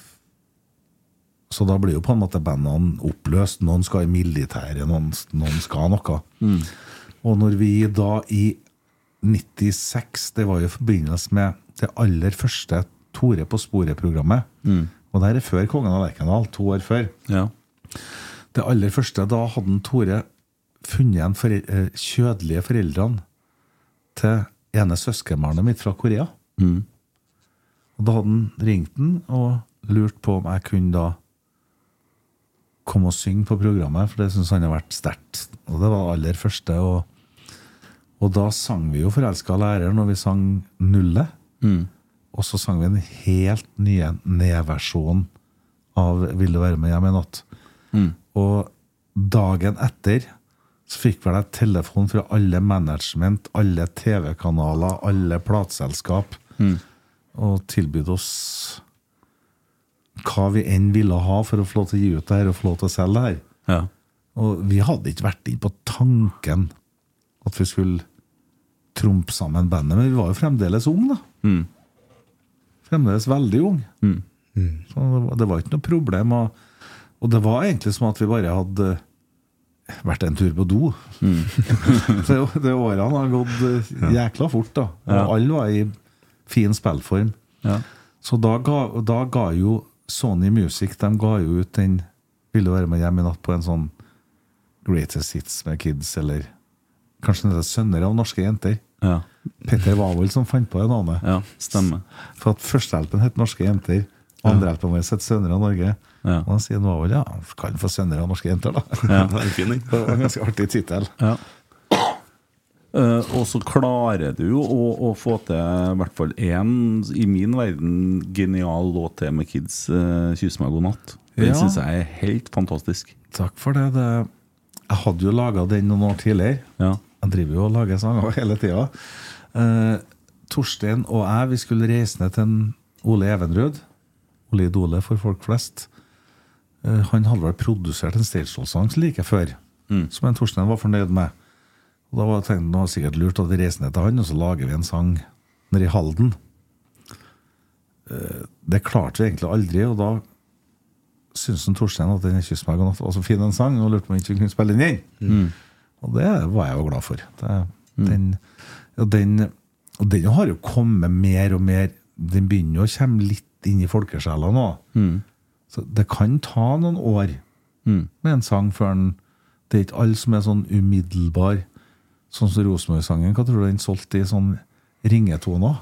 så da blir jo på en måte bandene oppløst. Noen skal i militæret, noen, noen skal noe. Og når vi da i 96, det var jo i forbindelse med det aller første Tore på sporet-programmet, og det her er før Kongen av Lerkendal, to år før
Ja.
Det aller første, da hadde han Tore funnet igjen forel eh, kjødelige foreldrene til ene søskenbarnet mitt fra Korea. Og da hadde han ringt den og lurt på om jeg kunne da komme og synge på programmet, for det syntes han hadde vært sterkt. Og det var det aller første. Og, og da sang vi jo 'Forelska lærer' når vi sang 'Nullet'. Og så sang vi en helt ny nedversjon av 'Vil du være med hjem i natt'. Og dagen etter så fikk vel jeg telefon fra alle management, alle TV-kanaler, alle plateselskap, og tilbød oss hva vi enn ville ha for å få lov til å gi ut det her og få lov til å selge det her.
Ja.
Og vi hadde ikke vært inne på tanken at vi skulle trumpe sammen bandet, men vi var jo fremdeles unge, da. Fremdeles veldig unge. Så det var, det var ikke noe problem. Og, og det var egentlig som at vi bare hadde vært en tur på do.
Mm.
så det det årene har gått eh, jækla fort, da. Og
Ja.
alle var i fin spillform.
Ja.
Så da ga, da ga jo Sony Music De ga jo ut den 'Vil du være med hjem i natt' på en sånn Greatest Hits med Kids, eller kanskje den heter 'Sønner av norske jenter'.
Ja.
Petter Wavold som fant på det navnet.
ja. Stemmer.
For at førstehjelpen het Norske jenter. og Andrehjelpen vår het Sønner av Norge.
Ja.
Og han sier nå vel ja, han kan få Sønner av norske jenter, da.
Det er en fin, den.
Det var en ganske artig tittel.
Ja. Eh, og så klarer du jo å, å få til i hvert fall én, i min verden, genial låt til med Kids, eh, 'Kyss meg god natt'. Den
Ja.
synes syns jeg er helt fantastisk.
Takk for det. det jeg hadde jo laga den noen år tidligere.
Ja.
Jeg driver jo og lager sanger hele tida. Eh, Torstein og jeg vi skulle reise ned til en Ole Evenrød. Ole Idole for folk flest. Eh, han hadde vel produsert en Stagehold-sang like før, som en Torstein var fornøyd med. Og Da var jeg tenkte jeg, nå er det sikkert lurt at vi reiser ned til han, og så lager vi en sang nede i Halden. Eh, det klarte vi egentlig aldri, og da syntes han Torstein at den 'Kyss meg god natt' var så fin en sang, og lurte på om ikke vi kunne spille den inn. Og det var jeg jo glad for. Det, den, og den, og den har jo kommet mer og mer Den begynner jo å komme litt inn i folkesjela nå. Så det kan ta noen år med en sang før den Det er ikke alle som er sånn umiddelbar. Sånn som Rosenborg-sangen. Hva tror du den solgte i sånn ringetoner?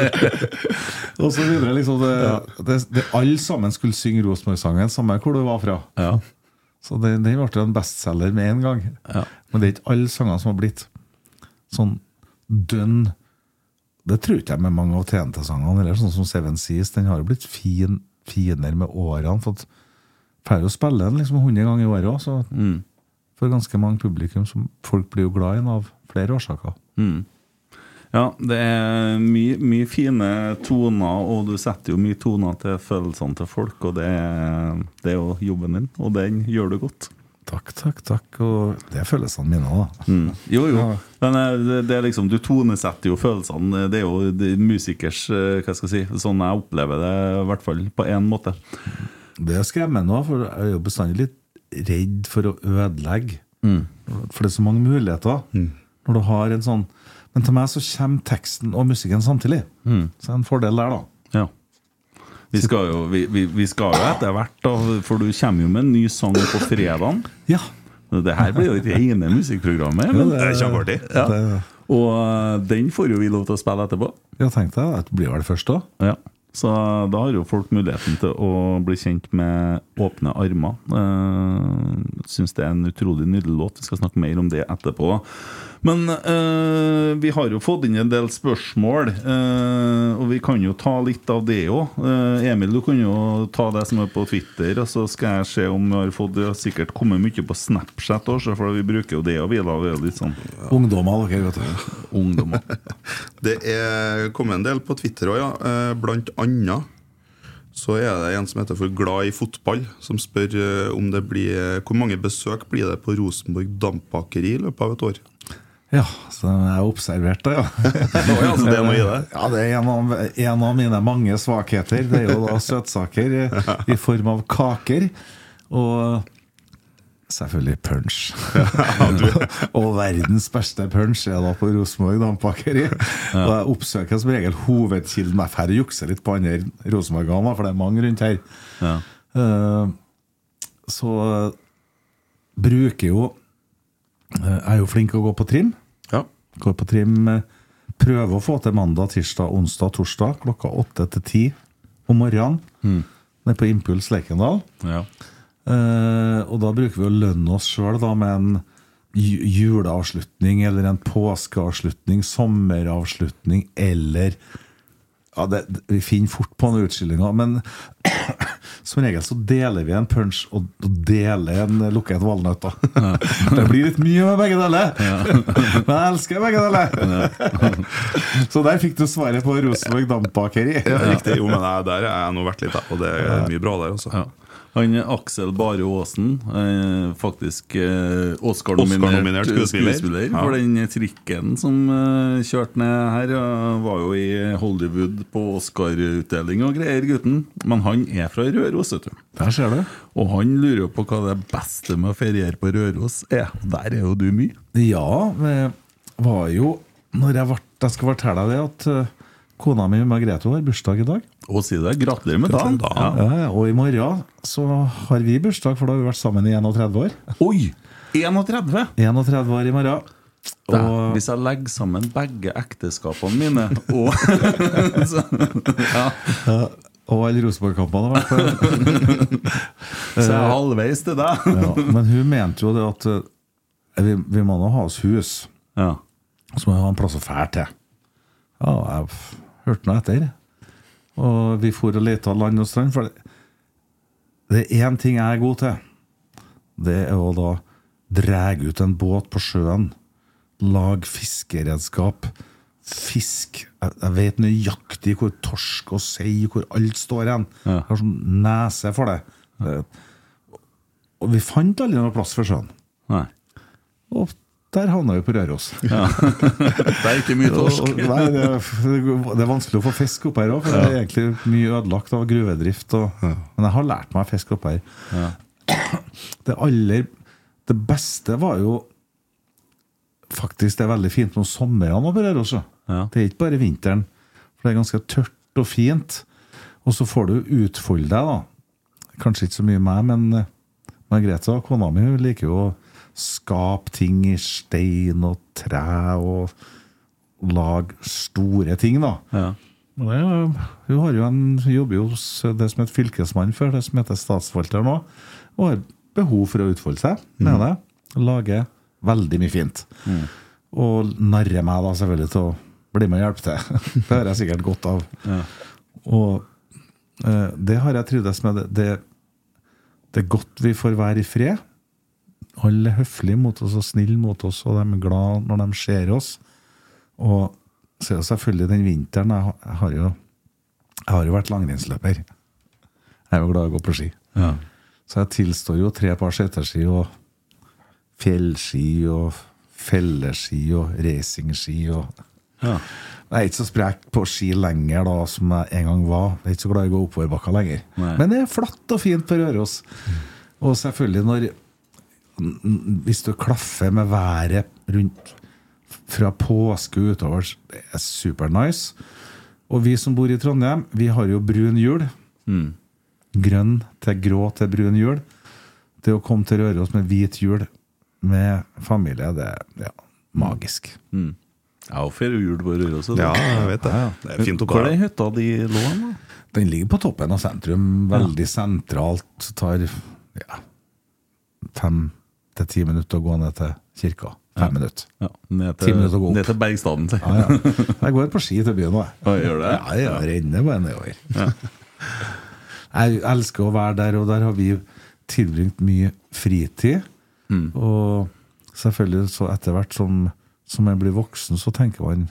og så videre. liksom det, det, det, Alle sammen skulle synge Rosenborg-sangen, samme hvor du var fra.
Ja.
Så den, den ble en bestselger med en gang. Men det er ikke alle sangene som har blitt sånn dønn Det tror ikke jeg med mange av TNT-sangene. Eller sånn som Seven Seas. Den har jo blitt fin, finere med årene. For at pleier jo å spille den liksom 100 ganger i året òg, så for ganske mange publikum som folk blir jo glad i den av flere årsaker.
Ja, det er mye, mye fine toner, og du setter jo mye toner til følelsene til folk, og det er, det er jo jobben din, og den gjør du godt.
Takk, takk, takk. Og det er følelsene mine òg, da.
Jo, jo.
Ja.
Men eh, det, det er liksom, du tonesetter jo følelsene. Eh, Det er jo det, er musikers eh, Hva skal jeg si Sånn jeg opplever det, i hvert fall på én måte.
Det skremmer meg nå, for jeg er jo bestandig litt redd for å ødelegge. For det er så mange muligheter. Når du har en sånn Men til meg så kommer teksten og musikken samtidig. Så det er en fordel der, da.
Ja. Vi skal jo, vi, vi, vi skal jo etter hvert, da, for du kommer jo med en ny sang på fredag.
Ja.
Det her blir jo det rene musikkprogrammet.
Jo,
Men,
det er
kjempeartig.
Ja.
Det,
Og eh, den får jo vi lov til å spille etterpå.
jeg tenkte at det blir vel det første òg.
Ja. Så da har jo folk muligheten til å bli kjent med åpne armer. Uh, Syns det er en utrolig nydelig låt. Vi skal snakke mer om det etterpå. Men eh, vi har jo fått inn en del spørsmål, eh, og vi kan jo ta litt av det òg. Emil, du kan jo ta det som er på Twitter, og så skal jeg se om vi har fått Det har sikkert kommet mye på Snapchat òg, for vi bruker jo det og vi da. Vi er jo litt sånn
Ungdommer, dere, vet du.
ungdommer.
Det er kommet en del på Twitter òg, ja. Eh, Blant annet så er det en som heter for Glad i fotball, som spør eh, om det blir Hvor mange besøk blir det på Rosenborg Dampbakeri i løpet av et år?
Ja, så jeg observerte det, ja.
Oi, altså, det er noe i det.
Ja, det er en av, en av mine mange svakheter. Det er jo da søtsaker eh, i form av kaker. Og selvfølgelig punch. og verdens beste punch er da på Rosenborg Dampakeri. Og jeg oppsøker som regel hovedkilden. Jeg får jukse litt på andre Rosenborg-ganger, for det er mange rundt her.
Ja.
Eh, Så bruker jo eh, Jeg er jo flink til å gå på trim.
Ja.
Går på trim. eh, Prøver å få til mandag, tirsdag, onsdag, torsdag klokka åtte til ti om morgenen. Nede på Impuls Lerkendal.
Ja.
Eh, og da bruker vi å lønne oss sjøl med en ju- juleavslutning eller en påskeavslutning, sommeravslutning eller ja, det, det- Vi finner fort på noen utskillinger, men som regel så deler vi en punch og, og deler en lukket valnøtt. da. det blir litt mye med begge deler, men jeg elsker begge deler! så der fikk du svaret på Rosenborg Dampbakeri.
eh, Ja, riktig. Jo, men jeg, der har jeg nå vært litt, jeg, og det er mye bra der, altså.
Ja. Han er Aksel Bare Aasen, eh, faktisk eh,
Oscar-nominert
Oscar-nominert
skuespiller.
skuespiller,
Ja.
for den trikken som eh, kjørte ned her. eh, var jo i Hollywood på Oscar-utdeling og greier, gutten. Men han er fra Røros, vet du.
Der ser du.
Og han lurer jo på hva det beste med å feriere på Røros er. Der er jo du mye.
Ja, det var jo Når jeg, vart- jeg skal fortelle deg det, at eh, kona mi Margrethe har bursdag i dag.
Og si det. Gratulerer med dagen. Ja.
Ja, ja, og i morgen så har vi bursdag, for da har vi vært sammen i 31 år.
Oi! 31!
31 år i morgen.
Da,
Og-
hvis jeg legger sammen begge ekteskapene mine og så, ja,
Og alle Rosenborg-kampene har vært på.
så er jeg halvveis til deg.
Ja, men hun mente jo det at eh, vi, vi må nå ha oss hus,
Ja.
så må vi ha en plass å fære til. Ja, jeg f- hørte noe etter. Og vi for og leta land og strand. For det- det er én ting jeg er god til. Det er å da drege ut en båt på sjøen. Lag fiskeredskap. Fisk. Jeg, jeg vet nøyaktig hvor torsk og sei, hvor alt står hen. Jeg har sånn nese for det. det. Og vi fant aldri noe plass for sjøen.
Nei.
Og der havna vi på Røros.
Det er ikke mye
Og-
torsk.
og- Nei, det, er, det er vanskelig å få fisk opp her òg, for det er egentlig mye ødelagt av gruvedrift. Og, Men jeg har lært meg fisk opp her. Det aller Det beste var jo Faktisk, det er veldig fint om somrene oppe her også.
Ja.
Det er ikke bare vinteren. For det er ganske tørt og fint. Og så får du utfolde deg, da. Kanskje ikke så mye meg, men eh, Margrethe, kona mi, hun liker jo å skape ting i stein og tre og lage store ting, da.
Ja.
Og Det, er jo- hun har jo en, hun jobber jo hos det som het fylkesmann før, det som heter statsforvalter nå, og har behov for å utfolde seg med det. Lage veldig mye fint. Og narre meg da selvfølgelig til å bli med og hjelpe til. det har jeg sikkert godt av. Og eh, det har jeg trivdes med. Det, det, det er godt vi får være i fred. Alle er høflige mot oss og snille mot oss, og de er glad når de ser oss. Og så er det selvfølgelig den vinteren Jeg har- jeg har jo, jeg har jo vært langrennsløper. Jeg er jo glad i å gå på ski.
Ja.
Så jeg tilstår jo tre par seterski og fjellski og felleski og racingski og
Ja.
Jeg er ikke så sprek på ski lenger da som jeg en gang var. Jeg er ikke så glad i å gå oppoverbakka lenger.
Nei.
Men det er flatt og fint på Røros. Og selvfølgelig når hvis du klaffer med været rundt fra påske utover, det er supernice. Og vi som bor i Trondheim, vi har jo brun jul. Mm. Grønn til grå til brun jul. Det å komme til Røros med hvit jul med familie, det er ja, magisk.
Jeg feirer jul på Røros.
Ja, jeg vet det. Det er fint oppå
Hvor er
her.
den hytta di lå hen? da?
Den ligger på toppen av sentrum, veldig sentralt. Tar ja, fem til ti minutter å gå ned til kirka. Fem minutter.
Ja, ned
Ti
til,
minutter å gå opp.
ned til Bergstaden, si.
Ja, ja. Jeg går på ski til byen nå, jeg.
Ja, gjør det?
Ja, ja, renner bare nedover. Jeg elsker å være der, og der har vi tilbringt mye fritid. Mm. Og selvfølgelig så etter hvert som, som jeg blir voksen, så tenker man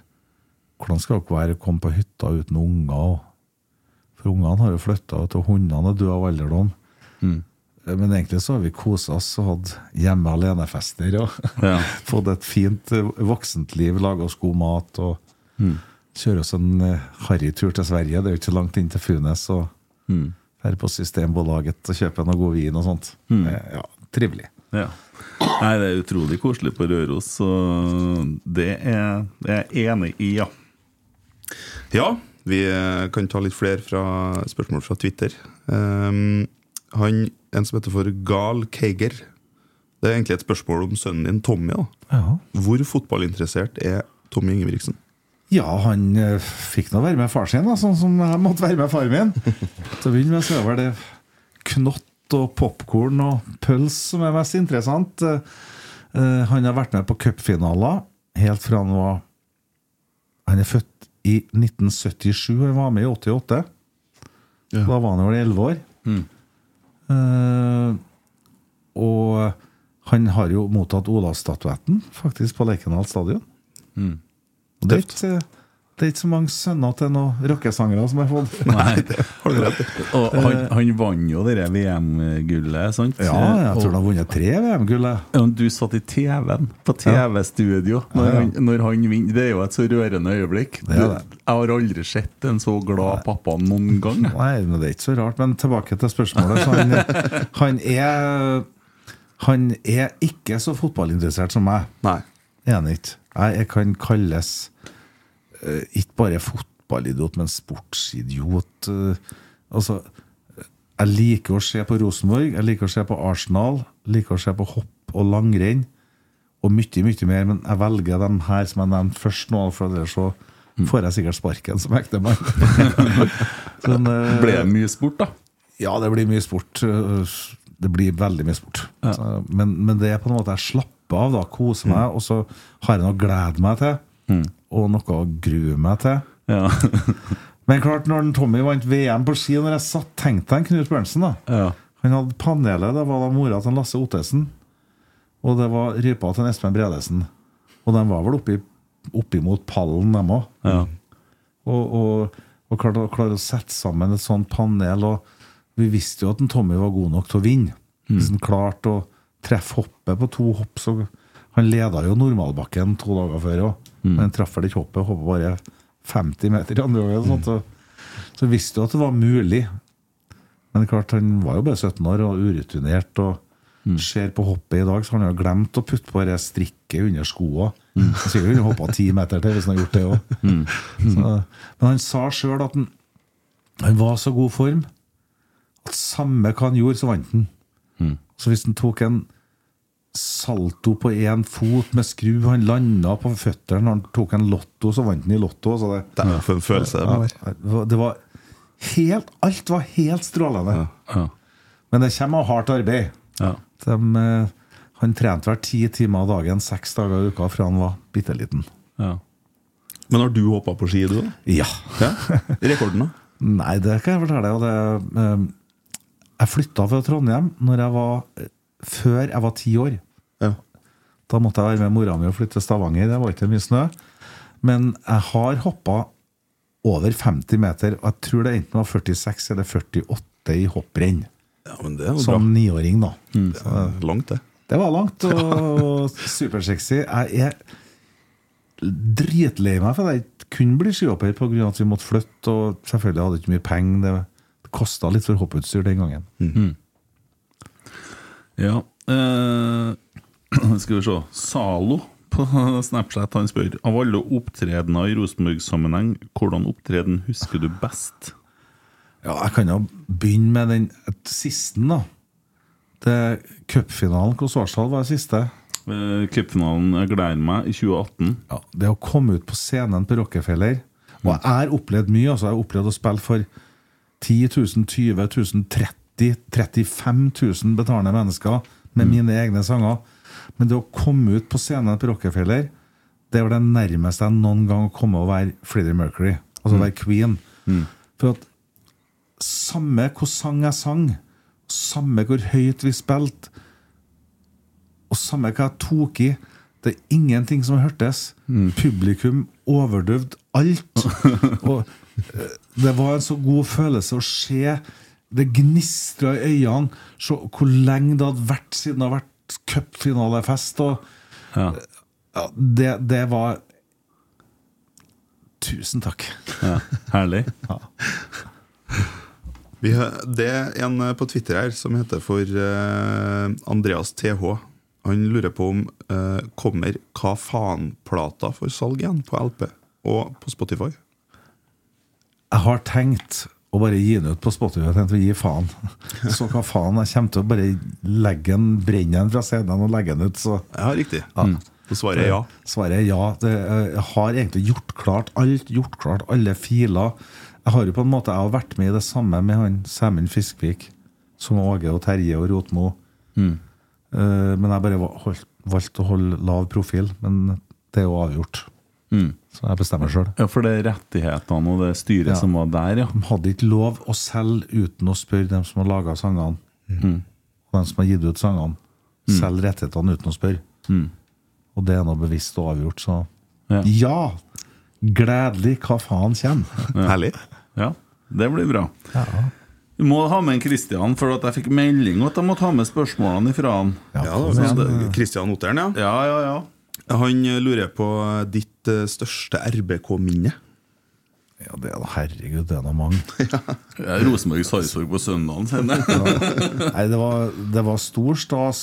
hvordan skal dere være å komme på hytta uten unger? og- For ungene har jo flytta ut, og hundene er døde av alderdom. Eh, Men egentlig så har vi kosa oss og hatt hjemme alene-fester og
Ja.
fått et fint eh, voksent liv, laga oss god mat og kjøre oss en eh, harrytur til Sverige. Det er jo ikke så langt inn til Funes. Og her på Systembolaget og kjøpe noe god vin og sånt. Eh, Ja, Trivelig.
Ja. Nei, det er utrolig koselig på Røros, så det er det er jeg enig i, ja.
Ja, vi eh, kan ta litt flere fra, spørsmål fra Twitter. Ehm, han, en som heter for Gal Keiger. Det er egentlig et spørsmål om sønnen din Tommy. da.
Ja,
Hvor fotballinteressert er Tommy Ingebrigtsen?
han eh, fikk nå være med far sin, da, sånn som jeg måtte være med far min. Til å begynne med så er vel det knott og popkorn og pøls som er mest interessant. Eh, eh, Han har vært med på cupfinaler helt fra han var Han er født i 1977, og han var med i 88. Da var han vel 11 år. Eh, og han har jo mottatt Olavsstatuetten, faktisk, på Lerkendal stadion. Og Det er ikke, Det er ikke så mange sønner til noen rockesangere som har fått.
Nei, og han, han vant jo det der VM-gullet, sant?
Eh. Ja, jeg tror de har vunnet tre VM-gull. jeg.
Ja, men Du satt i TV-en, på TV-studio, når, han- når han vinner. Det er jo et så rørende øyeblikk.
Det er det.
Du- Jeg har aldri sett en så glad pappa noen gang.
Nei, men det er ikke så rart. Men tilbake til spørsmålet. Så han, han er Han er ikke så fotballinteressert som meg.
Nei.
Er han ikke? Jeg, jeg kan kalles eh, ikke bare fotballidiot, men sportsidiot. eh, altså Jeg liker å se på Rosenborg, jeg liker å se på Arsenal, jeg liker å se på hopp og langrenn. Og mye, mye mer, men jeg velger dem her som jeg nevnte først nå, for ellers så får jeg sikkert sparken som ektemann. sånn, eh,
Ble det mye sport, da?
ja, det blir mye sport. øh, Det blir veldig mye sport. Så, men, men det er på en måte jeg slapper av, da, koser meg, og så har jeg noe å glede meg til. Og noe å grue meg til.
Ja.
Men klart, når den Tommy vant VM på ski, når jeg satt, tenkte jeg Knut Berntsen, da.
Ja.
Han hadde panelet, det var da mora til Lasse Ottesen. Og det var rypa til Espen Bredesen. Og de var vel oppi, oppimot pallen, dem òg.
ja.
Og, og, og klarte, å- klare å sette sammen et sånt panel. Og vi visste jo at en Tommy var god nok til å vinne. Hvis han klarte å treffe hoppet på to hopp så Han leda jo normalbakken to dager før òg, men han traff vel ikke hoppet. Hoppet bare 50 meter i andre gangen. sånn, Så, så visste jo at det var mulig. Men klart, han var jo bare 17 år og urutinert. og Ser på hoppet i dag, så han har glemt å putte på det strikket under skoa. Mm. Sikkert kunne hoppa ti meter til hvis han hadde gjort det òg.
Mhm.
Men han sa sjøl at han, han var så god form at samme hva han gjorde, så vant han.
Mhm.
Så hvis han tok en salto på én fot med skru, han landa på føttene, når han tok en lotto, så vant han i lotto. Så det,
Det er for en følelse. det var.
ja, det var- det var helt, alt var helt strålende.
ja.
Men det kommer av hardt arbeid.
ja.
De, eh, han trente hver ti timer av dagen, seks dager i uka, fra han var bitte liten.
ja.
Men har du hoppa på ski, du? da?
Ja.
Ja. Rekorden, da?
Nei, det kan jeg fortelle deg. Og det, eh, jeg flytta fra Trondheim når jeg var, før jeg var ti år.
Ja.
Da måtte jeg være med mora mi og flytte til Stavanger. Det var ikke mye snø. Men jeg har hoppa over 50 meter, og jeg tror det enten var 46 eller 48 i hopprenn.
ja, men det er jo bra.
Som niåring, da.
Det er Langt, det.
Det var langt og supersexy. Jeg er dritlei meg for at jeg ikke kunne bli skihopper pga. at vi måtte flytte. Og selvfølgelig hadde jeg ikke mye penger. Det, det kosta litt for hopputstyr den gangen.
Ja. Eh, skal vi se. Zalo på Snapchat han spør Av alle opptredener i Rosenborg-sammenheng, hvordan opptreden husker du best?
Ja, Jeg kan jo begynne med den et- siste, da. Det Cupfinalen hvor Svartsdal var siste.
Eh, Cupfinalen jeg gleder meg i 2018.
ja, det å komme ut på scenen på Rockefeller Og jeg har opplevd mye. altså Jeg har opplevd å spille for 10 000, 20 000, 30 000, 35 000 betalende mennesker med mine egne sanger. Men det å komme ut på scenen på Rockefeller, det var det nærmeste jeg noen gang kom å være Freddie Mercury. Altså være Queen. For at samme hvor sang jeg sang, samme hvor høyt vi spilte, og samme hva jeg tok i, det er ingenting som hørtes. Publikum overdøvd alt. og eh, det var en så god følelse å se. Det gnistra i øynene. Se hvor lenge det hadde vært siden det hadde vært cupfinalefest. Og, eh,
Ja.
ja, det, det var Tusen takk.
ja. Herlig.
Vi, hø- det er en eh, på Twitter her som heter for eh, Andreas TH. Han lurer på om eh, kommer Hva faen-plata for salg igjen på LP og på Spotify?
Jeg har tenkt å bare gi den ut på Spotify. Jeg tenkte å gi faen. Så hva faen? Jeg kommer til å bare legge den, brenne den fra scenen og legge den ut. Så
Ja, riktig. Mm. Så svaret er ja.
Svaret er ja. Det, eh, jeg har egentlig gjort klart alt. Gjort klart alle filer. Jeg har jo på en måte jeg har vært med i det samme med han Sæmund Fiskvik, som Åge og Terje og Rotmo. Eh, men jeg bare va- holdt, valgte å holde lav profil. Men det er jo avgjort. Så jeg bestemmer sjøl.
Ja, for det er rettighetene og det styret
Ja.
som var der, ja.
De hadde ikke lov å selge uten å spørre dem som har laga sangene, og dem som har gitt ut sangene. Selge rettighetene uten å spørre. Og det er nå bevisst og avgjort, så
Ja.
ja! Gledelig hva faen kommer.
Herlig.
Ja, det blir bra. Du må ha med en Kristian, for at jeg fikk melding om at jeg måtte ha med spørsmålene ifra han.
Ja, da, Christian Otteren, ja.
Ja, ja, ja.
Han eh, lurer på ditt eh, største RBK-minne.
Ja, det er da, herregud, det er da mange.
Ja, Rosenborg-Sarpsborg på søndagen, sender jeg.
Nei, det var, det var stor stas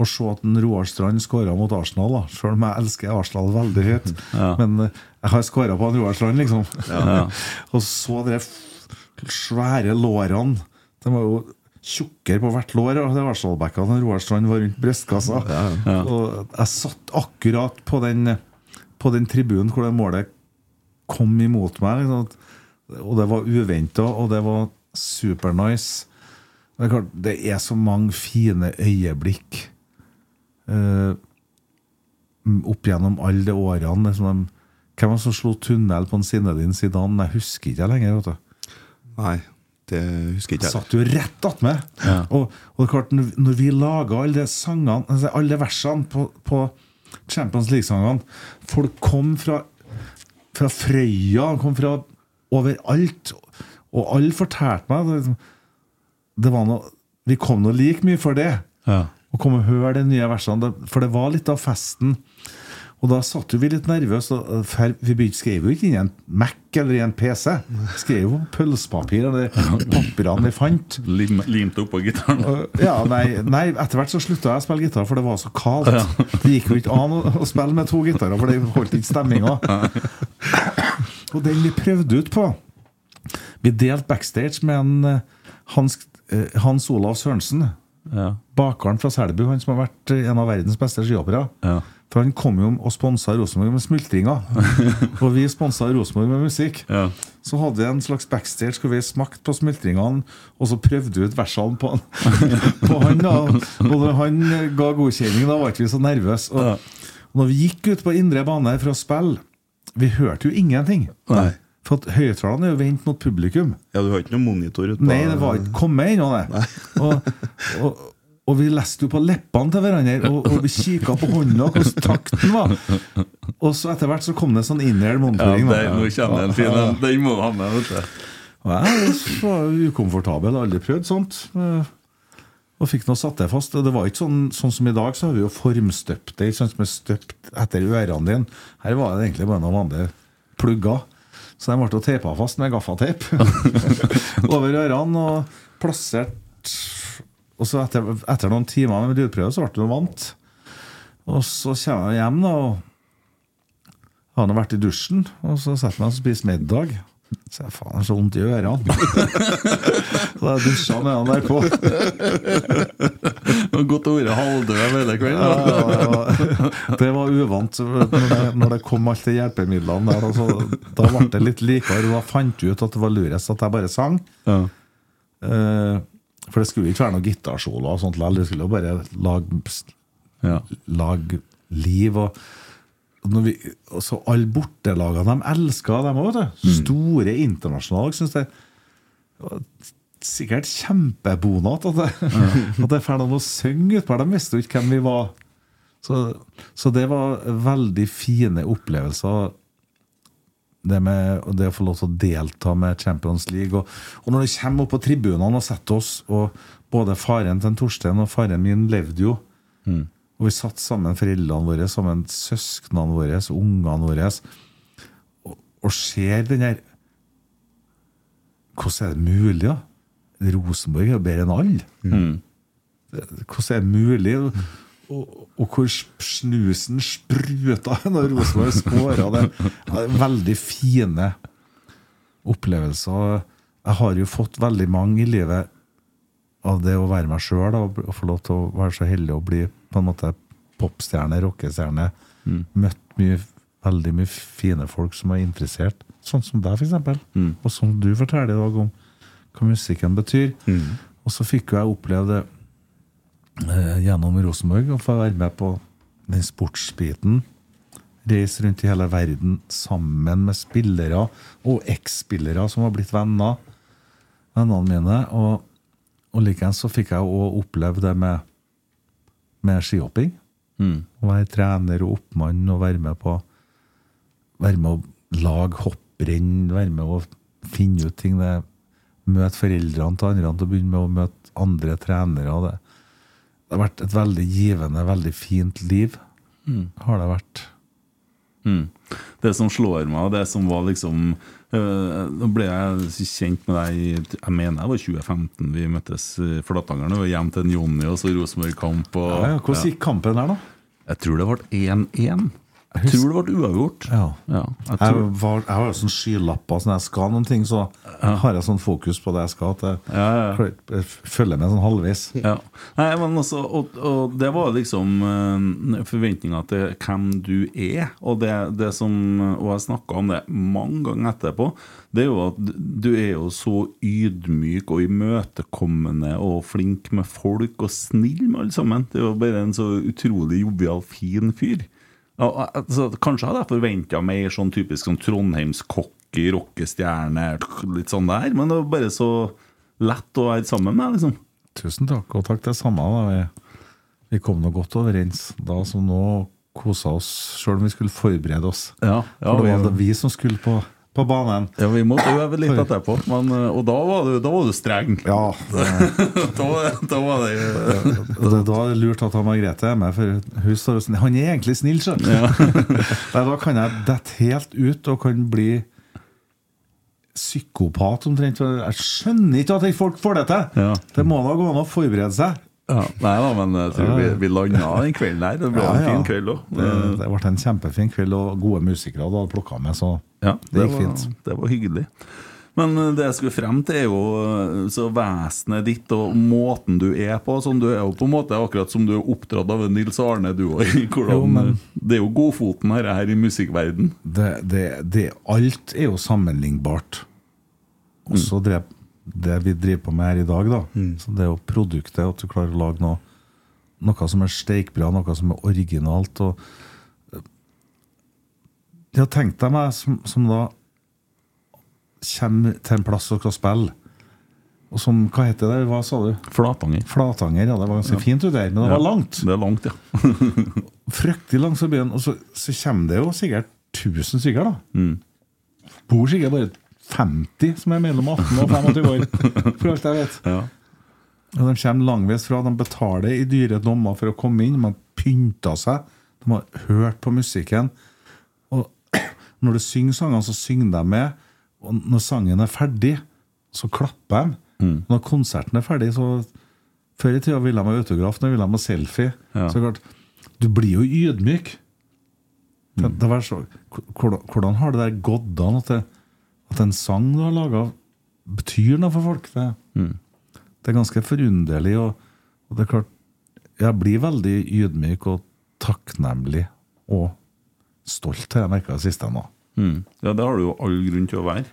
å se at en Roar Strand skåra mot Arsenal, da. Selv om jeg elsker Arsenal veldig høyt. Men eh, jeg har skåra på en Roar Strand, liksom. Og så de f- svære lårene. De var jo tjukkere på hvert lår. Og det Arsenal-backene og Roar Strand var rundt brystkassa. Og jeg satt akkurat på den, på den tribunen hvor det målet kom imot meg. Liksom. at- Og det var uventa, og det var supernice. Det er, klart, det er så mange fine øyeblikk eh, opp gjennom alle de årene. Liksom de, hvem var det som slo tunnel på en Sinedin Zidane? Jeg husker ikke jeg lenger. vet du
Nei, det husker ikke
Jeg
jeg.
satt jo rett attmed! Og, og det er klart, når- når vi laga alle de sangene, altså alle de versene på, på Champions League-sangene Folk kom fra, fra Frøya, kom fra overalt. Og alle fortalte meg det, er liksom- det var noe, Vi kom nå like mye for det.
Ja.
Å komme og høre de nye versene. det- For det var litt av festen. Og da satt jo vi litt nervøse. og, eh, for Vi begynte- skrev jo ikke inn i en Mac eller i en PC. Skrev jo på pølsepapir eller papirene vi fant.
Lim, limte opp på gitaren.
Ja, nei, nei etter hvert så slutta jeg å spille gitar, for det var så kaldt. Det gikk jo ikke an å, å spille med to gitarer, for det holdt ikke stemminga. Og den vi prøvde ut på Vi delte backstage med en eh, Hans, eh, Hans Olav Sørensen.
Ja.
Bakeren fra Selbu, han som har vært eh, en av verdens beste skihoppere.
Ja.
For han kom jo og sponsa Rosenborg med smultringer. og vi sponsa Rosenborg med musikk.
Ja.
Så hadde vi en slags backstage hvor vi smakte på smultringene, og så prøvde vi ut versene på han. på han da. Og når han eh, ga godkjenning, da var ikke vi så nervøse. Og, og når vi gikk ut på indre bane for å spille, vi hørte jo ingenting.
Nei.
For at høyttalerne er jo vendt mot publikum.
Ja, Du har ikke noen monitor utpå
Nei, det var ikke kommet ennå, det. Og, og, og vi leste jo på leppene til hverandre, og, og vi kikka på hånda hvordan takten var. Og så etter hvert så kom det sånn inngjeldende
Ja,
monitoring.
det, nå kjenner jeg en fin en. Den må du ha med, vet du.
Ja, jeg var ukomfortabel, aldri prøvd sånt. Eh, Og fikk nå satt det fast. Og Det var ikke sånn, sånn som i dag, så har vi jo formstøpt det. ikke sant, som er støpt etter ørene dine. Her var det egentlig bare noen vanlige plugger. Så de ble jo teipa fast med gaffateip over ørene og plassert Og så etter, etter noen timer med lydprøve, så ble du nå vant. Og så kommer jeg hjem, da. og har nå vært i dusjen, og så setter jeg meg og spiser middag. Så jeg faen, jeg har så vondt i ørene. så jeg dusja med han der på.
Det var Godt å være halvdød hele
Ja,
kvelden. da.
det var- Det var uvant så når det, når det kom alt de hjelpemidlene der. og så- da ble det litt likere. og Da fant jeg ut at det var lurest at jeg bare sang.
Ja.
Eh, For det skulle jo ikke være noen gitarsolo og sånt likevel. Det skulle jo bare lage
Ja.
lag liv. Og, når vi, og så alle bortelagene de elska, dem òg. Store internasjonale. Jeg synes det var sikkert kjempebonat at det, at det får noen å synge utpå. De visste jo ikke hvem vi var. Så, så det var veldig fine opplevelser. Det, med, og det å få lov til å delta med Champions League. Og, og når du kommer opp på tribunene og setter oss og Både faren til Torstein og faren min levde jo. Og vi satt sammen, foreldrene våre, sammen søsknene våre, ungene våre, og, og ser den her Hvordan er det mulig, da? Rosenborg er jo bedre enn alle. Det- Hvordan er det mulig? Og, og hvor sp- snusen spruta når Rosenborg skåra. Det er veldig fine opplevelser. Jeg har jo fått veldig mange i livet av det å være meg sjøl og bl- og få lov til å være så heldig å bli på en måte popstjerne, rockestjerne. Møtt mye, veldig mye fine folk som er interessert, sånn som deg, f.eks. Mm. Og som du forteller i dag om hva musikken betyr. Og så fikk jo jeg oppleve det eh, gjennom Rosenborg, å få være med på den sportsbiten. Reise rundt i hele verden sammen med spillere og eks-spillere som har blitt venner. Vennene mine. og og likeens så fikk jeg òg oppleve det med, med skihopping. Å være trener og oppmann og være med på Være med å lag hopprenn, være med og finne ut ting. Det, møte foreldrene til andre, til å begynne med å møte andre trenere. og Det, det har vært et veldig givende, veldig fint liv. Har det vært.
Det som slår meg, og det som var liksom øh, Nå ble jeg kjent med deg i- Jeg mener det var 2015 vi møttes i Flatanger. Det var hjem til en Jonny og så Rosenborg-kamp. og-
Ja, ja, hvordan
Ja.
gikk kampen her, da?
Jeg tror det ble 1-1. Jeg tror det ble uavgjort.
Ja.
jeg
Jeg,
tror,
var, jeg har jo sånn skylapper. Så når jeg skal noen ting, så har jeg sånn fokus på det jeg skal. At jeg, klarer ikke- jeg følger med sånn halvveis.
ja. Nei, men altså, og, og det var liksom øh, forventninga til hvem du er. Og det, det som Og jeg snakka om det mange ganger etterpå. Det er jo at du er jo så ydmyk og imøtekommende og flink med folk og snill med alle sammen. Det er jo bare en så utrolig jovial, fin fyr. Ja, og- altså, kanskje hadde jeg forventa meg sånn typisk sånn trondheimskokke, rockestjerne, litt sånn der. Men det var bare så lett å være sammen med, liksom.
Tusen takk, og takk det samme. Da. Vi, vi kom nå godt overens da som nå kosa oss, sjøl om vi skulle forberede oss.
Ja, ja,
For det
vi-
var det vi som skulle på, på banen.
Ja, vi måtte øve litt etterpå, men, eh, og da var du, da var du streng.
Ja, det,
da, var- da var det jo
det, da er det lurt at han Margrethe er med, for hun står og sn- Han er egentlig snill, sjøl. Nei, da kan jeg dette helt ut og kan bli psykopat omtrent. for Jeg skjønner ikke at ikke folk får det til!
Ja.
Det må da gå an å forberede seg.
ja, Nei da, men jeg tror vi, vi landa den kvelden her. Det ble
Ja,
en
ja.
fin kveld Eh,
Det,
òg.
det ble en kjempefin kveld, og gode musikere du hadde plukka med, så
Ja,
det gikk
var,
fint.
Det var hyggelig. Men eh, det jeg skulle frem til, er jo eh, så vesenet ditt og måten du er på. Sånn, du er jo på en måte akkurat som du er oppdratt av en Nils Arne, du òg.
Jo, men-
Det er jo godfoten her, her i musikkverden
det, det, det, alt er jo sammenlignbart. Og så drev- det vi driver på med her i dag, da. Så det er jo produktet, at du klarer å lage noe, noe som er steikbra, noe som er originalt. Og ja, tenk deg meg som, som da kommer til en plass og skal spille. Og som, hva heter det, hva sa du?
Flatanger.
Flatanger, ja. Det var ganske fint ute der, men det var langt
Det er langt, ja.
fryktelig langs av byen, og så, så kommer det jo sikkert 1000 stykker, da. Bor sikkert bare 50 som er mellom 18 og 25 år, for alt jeg vet.
Ja.
Og de kommer langveis fra. De betaler i dyre dommer for å komme inn. De har pynta seg. De har hørt på musikken. Og når du synger sangene, så synger de med. Og når sangen er ferdig, så klapper de. Når konserten er ferdig, så Før i tida ville de ha autograf, nå ville de ha selfie.
Ja.
Så klart, du blir jo ydmyk. Det, det var så, hvordan, hvordan har det der gått an at, det, at en sang du har laga, betyr noe for folk? Det, det er ganske forunderlig. Og, og det er klart, jeg blir veldig ydmyk og takknemlig og stolt, har jeg merka det siste nå.
Mm. Ja, det har du jo all grunn til å være.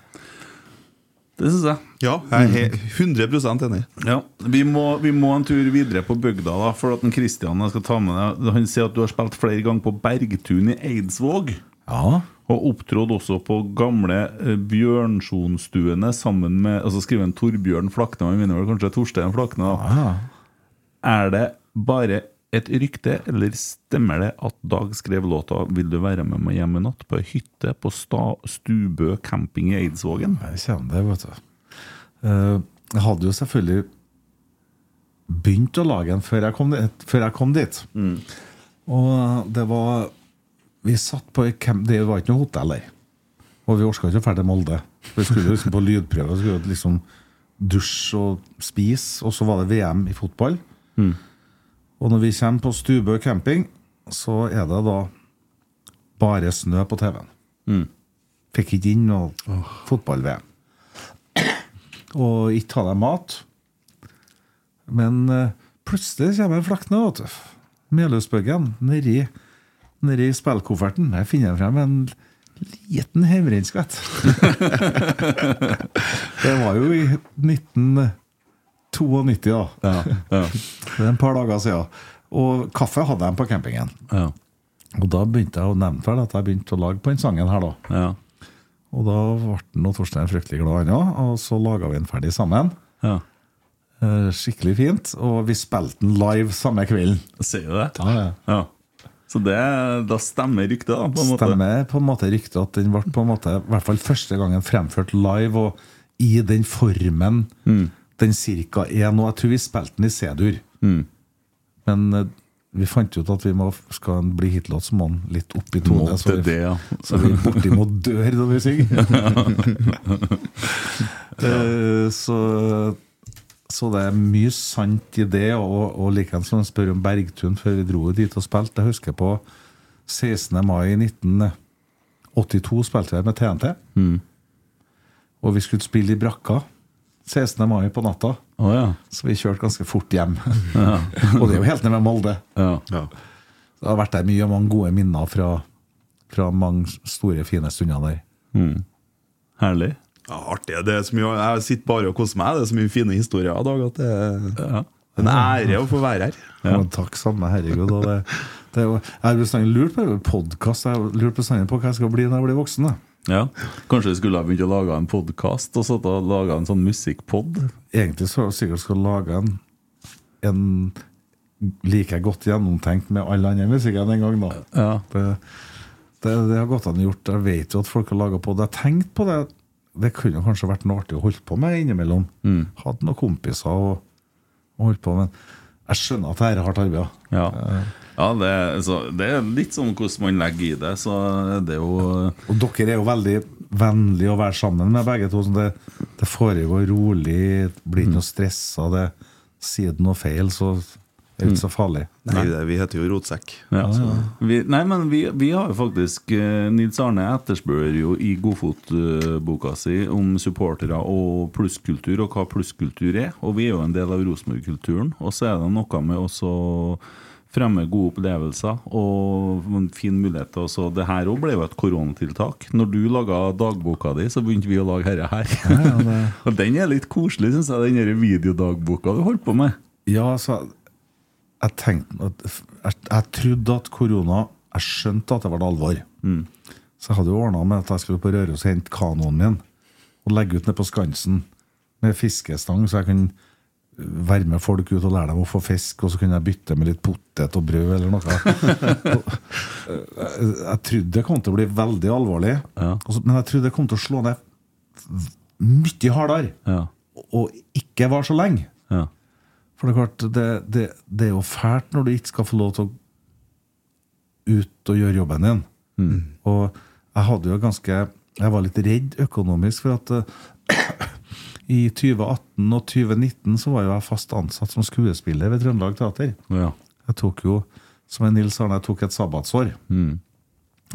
Det syns jeg.
Ja, jeg
Mm.
er he- 100 enig.
Ja, vi må, vi må en tur videre på bygda, da, for at en Kristian jeg skal ta med deg Han sier at du har spilt flere ganger på Bergtun i Eidsvåg.
Ja.
Og opptrådte også på gamle eh, Bjørnsonstuene sammen med altså skriver en Torbjørn Flakne. Han minner vel kanskje Torstein Flakne. da. Er det bare et rykte, eller stemmer det at Dag skrev låta 'Vil du være med meg hjem i natt' på ei hytte på Sta Stubø camping i Eidsvågen?
Jeg kjenner det, vet du. Eh, Jeg hadde jo selvfølgelig begynt å lage en før jeg kom dit. Før jeg kom dit. Og det var Vi satt på ei camp Det var ikke noe hotell der. Og vi orka ikke å dra til Molde. Vi skulle liksom på lydprøve. Vi skulle liksom dusje og spise. Og så var det VM i fotball. Og når vi kommer på Stubø camping, så er det da bare snø på TV-en. Fikk ikke inn noe fotball-VM. Og ikke hadde jeg mat. Men eh, plutselig kommer en flakne, vet du. Melhusbøggen nedi, nedi spillkofferten. Der finner jeg frem en liten hemmerinnskvett. det var jo i 1992, da.
Ja, ja,
Det er en par dager siden. Og kaffe hadde jeg på campingen.
ja,
Og da begynte jeg å nevne for deg at jeg begynte å lage på den sangen her, da.
ja,
Og da ble den og Torstein fryktelig glad han også, og så laga vi den ferdig sammen.
ja.
Eh, Skikkelig fint. Og vi spilte den live samme kvelden.
Sier du det?
Ja, ja.
Ja. Så det, da stemmer ryktet, da. på en måte
Stemmer på en måte ryktet at den ble på en måte, i hvert fall første gangen fremført live og i den formen
Mm.
den cirka er nå. Jeg tror vi spilte den i C-dur. Men eh, vi fant ut at vi må, skal den bli hitlåt, så må den litt opp i
Må
tone. Så vi,
til det, ja.
så vi bortimot dør når vi synger. Eh, så, så det er mye sant i det, og, og likeens når han spør om Bergtun før vi dro dit og spilte. Jeg husker på 16. mai 1982 spilte jeg med TNT.
Mm.
Og vi skulle spille i brakka 16. mai på natta.
Å ja.
Så vi kjørte ganske fort hjem. og det er jo helt ned med Molde.
ja.
Så Det har vært der mye og mange gode minner fra, fra mange store, fine stunder der.
Herlig.
Ja, artig. Det er så mye, jeg sitter bare og koser meg. Det er så mye fine historier i dag at det er
Ja.
en ære å få være her.
Ja. Men takk samme, herregud. Og det, det er jo, jeg har bestandig lurt på podkast. Jeg har lurt bestandig på hva jeg skal bli når jeg blir voksen. Da.
ja. Kanskje vi skulle ha begynt å lage en podkast, og satt og laga en sånn musikkpod?
Egentlig så er jeg sikkert skal lage en, en like godt gjennomtenkt med all annen musikk enn en gang nå.
Ja.
Det, det, det har godt an gjort. Jeg vet jo at folk har laga pod. Jeg tenkte på det. Det kunne kanskje vært noe artig å holde på med innimellom. Hadde noen kompiser og, og holdt på, men jeg skjønner at dette er hardt arbeid.
Ja, ja det, er- så, det er litt sånn hvordan man legger i det, så det er jo
Og dere er jo veldig vennlige å være sammen med begge to. sånn Det, det foregår rolig, det blir ikke noe stressa. Det, sier det noe feil, så er det ikke så farlig.
Nei, det, vi heter jo Rotsekk.
Ja. Vi, nei, men vi, vi har jo faktisk eh, Nils Arne etterspør jo i Godfot-boka si om supportere og plusskultur, og hva plusskultur er. Og vi er jo en del av Rosenborg-kulturen. Og så er det noe med også å fremme gode opplevelser og en fin mulighet til også Det her òg ble jo et koronatiltak. Når du laga dagboka di, så begynte vi å lage dette her. og den er litt koselig, syns jeg, den der videodagboka du holdt på med.
Ja, altså Jeg tenkte at, jeg, jeg trodde at korona Jeg skjønte at det var alvor. Så jeg hadde jo ordna med at jeg skulle på Røros og hente kanoen min og legge ut nede på Skansen med fiskestang, så jeg kunne være med folk ut og lære dem å få fisk, og så kunne jeg bytte med litt potet og brød eller noe. Og, eh, jeg trodde det kom til å bli veldig alvorlig, og så- men jeg trodde det kom til å slå ned mye hardere,
Ja.
og ikke var så lenge.
Ja.
For det er klart, det, det, det er jo fælt når du ikke skal få lov til å ut og gjøre jobben din.
Mm.
Og jeg hadde jo ganske Jeg var litt redd økonomisk, for at eh, i 2018 og 2019 så var jo jeg fast ansatt som skuespiller ved Trøndelag Teater.
ja.
Jeg tok jo, som en Nils Arne, jeg tok et sabbatsår.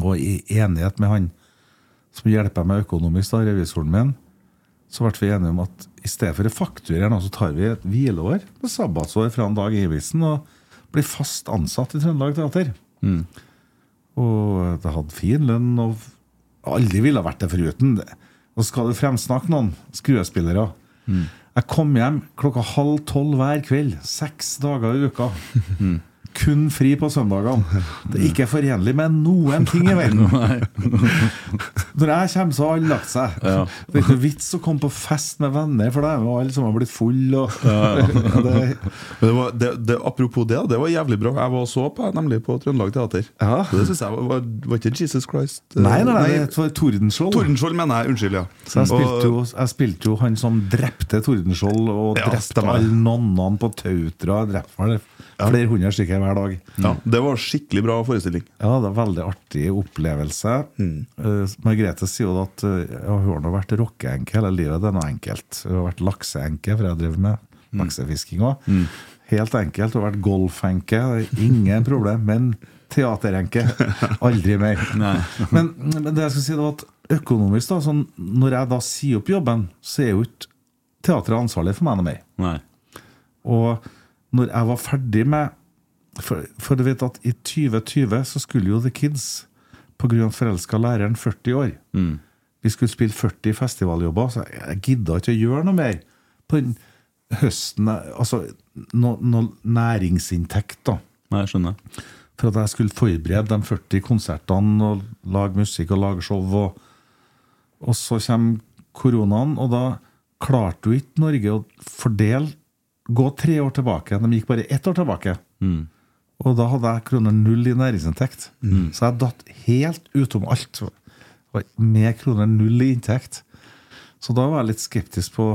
Og i enighet med han som hjelper meg økonomisk, da, revisoren min, så ble vi enige om at i stedet for å fakturere, nå, så tar vi et hvileår, et sabbatsår fra en Dag Iversen, og blir fast ansatt i Trøndelag Teater. Og det hadde fin lønn, og aldri ville ha vært det foruten. Og skal du fremsnakke noen skuespillere? Jeg kom hjem klokka halv tolv hver kveld, seks dager i uka. Mm. Kun fri på søndagene. Det er ikke forenlig med noen ting i verden. Når jeg kommer, så har alle lagt seg. Det er ikke noe vits å komme på fest med venner, for da er jo alle som har blitt fulle. Og... det...
Men det var, det, det, apropos det, det var jævlig bra. Jeg var og så på nemlig på Trøndelag Teater.
Ja.
Det synes jeg var, var, var ikke Jesus Christ eh,
Nei, nei, nei, det var Tordenskjold.
Tordenskjold, mener jeg. Unnskyld, ja.
Så jeg spilte,
Og-
jo, jeg spilte jo han som drepte Tordenskjold og
Ja,
drepte
stemmer.
alle nonnene på Tautra. Jeg Drepte vel flere hundre stykker hver dag.
ja, Det var skikkelig bra forestilling.
Ja, det var veldig artig opplevelse. Eh, Margrethe sier jo da at eh, ja, hun har nå vært rockeenke hele livet. Det er noe enkelt. Hun har vært lakseenke, for jeg driver med laksefisking òg. Helt enkelt. Hun har vært golfenke. det er Ingen problem. Men teaterenke. Aldri mer. men, men det jeg skal si, det var at økonomisk, da, sånn, når jeg da sier opp jobben, så er jo ikke teatret ansvarlig for meg noe mer.
Nei.
Og når jeg var ferdig med For, for du vet at i 2020 så skulle jo The Kids på grunn av forelska læreren 40 år. Vi skulle spille 40 festivaljobber, så jeg, jeg gidda ikke å gjøre noe mer. På den høsten Altså noe no næringsinntekt, da.
Nei, jeg skjønner.
For at jeg skulle forberede de 40 konsertene og lage musikk og lage show. Og, og så kommer koronaen, og da klarte jo ikke Norge å fordele Gå tre år tilbake. De gikk bare ett år tilbake. Og da hadde jeg kroner null i næringsinntekt. Så jeg datt helt utom alt. Og Med kroner null i inntekt. Så da var jeg litt skeptisk på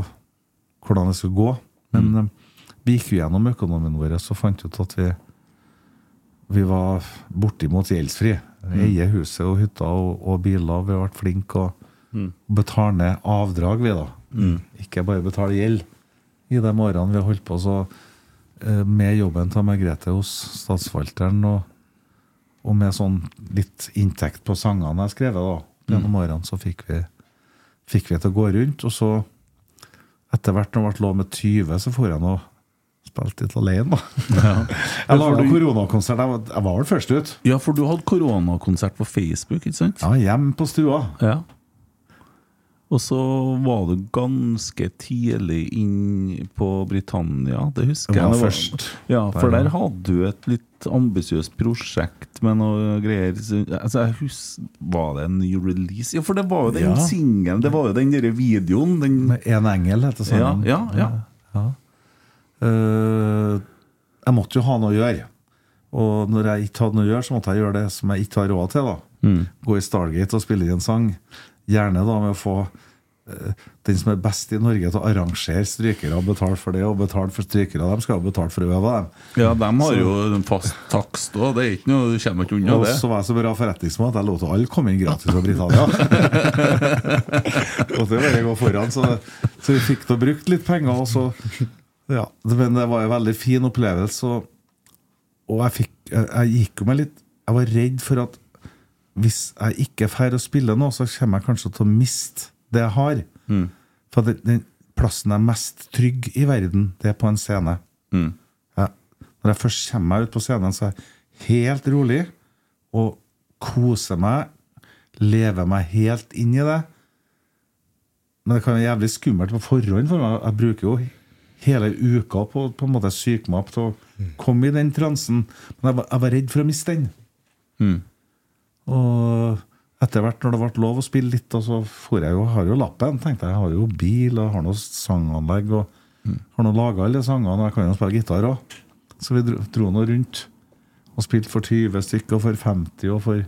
hvordan det skulle gå. Men eh, vi gikk jo gjennom økonomien vår og fant ut at vi, vi var bortimot gjeldsfri. Eier huset og hytta og, og biler. Vi har vært flinke og betaler ned avdrag, vi, da. Ikke bare betale gjeld. I de årene vi har holdt på, så eh, med jobben til Margrethe hos statsforvalteren og, og med sånn litt inntekt på sangene jeg har skrevet, da,
Mm.
gjennom årene, så fikk vi, fikk vi til å gå rundt. Og så, etter hvert når jeg ble lov med 20, så får jeg nå spilt litt alene, da. jeg
Men får
lagde
du-
koronakonsert. Jeg var, jeg var vel først ut.
Ja, for du hadde koronakonsert på Facebook, ikke sant?
Ja, hjem på stua.
Ja. Og så var du ganske tidlig inn på Britannia, det husker
Det
jeg.
var
Det var-
først.
Ja, for der hadde du et litt ambisiøst prosjekt med noe greier. Så- Altså, jeg husker, Var det en ny release? Ja, for det var jo
Ja.
den singelen, det var jo den derre videoen. Den,
Med en engel, heter
ja,
sangen.
ja, ja.
Eh, jeg måtte jo ha noe å gjøre. Og når jeg ikke hadde noe å gjøre, så måtte jeg gjøre det som jeg ikke har råd til. da Gå i Stargate og spille inn en sang. Gjerne da med å få eh, den som er best i Norge til å arrangere strykere og betale for det. Og betale for strykere, de skal jo betale for å øve dem.
Ja, de har jo en fast takst òg, det er ikke noe, du kommer ikke unna
Og
det.
så var jeg så bra forretningsmann at jeg lot alle komme inn gratis fra Britannia. og det bare gå foran så, så vi fikk da brukt litt penger. Og så, ja, men det var en veldig fin opplevelse. Og, og jeg, fikk, jeg, jeg gikk jo meg litt Jeg var redd for at hvis jeg ikke drar å spille nå, så kommer jeg kanskje til å miste det jeg har. For den, den plassen jeg er mest trygg i verden, det er på en scene. Jeg, når jeg først kommer meg ut på scenen, så er jeg helt rolig og koser meg. Lever meg helt inn i det. Men det kan være jævlig skummelt på forhånd for meg. Jeg bruker jo hele uka på å på en måte syke meg opp til å komme i den transen. Men jeg var, jeg var redd for å miste den. Og etter hvert, når det ble lov å spille litt, og så for jeg jo, har jo lappen. tenkte Jeg jeg har jo bil og har noe sanganlegg og har nå laga alle sangene. Og jeg kan jo spille gitar òg. Så vi dro, dro nå rundt og spilte for 20 stykker og for 50 og for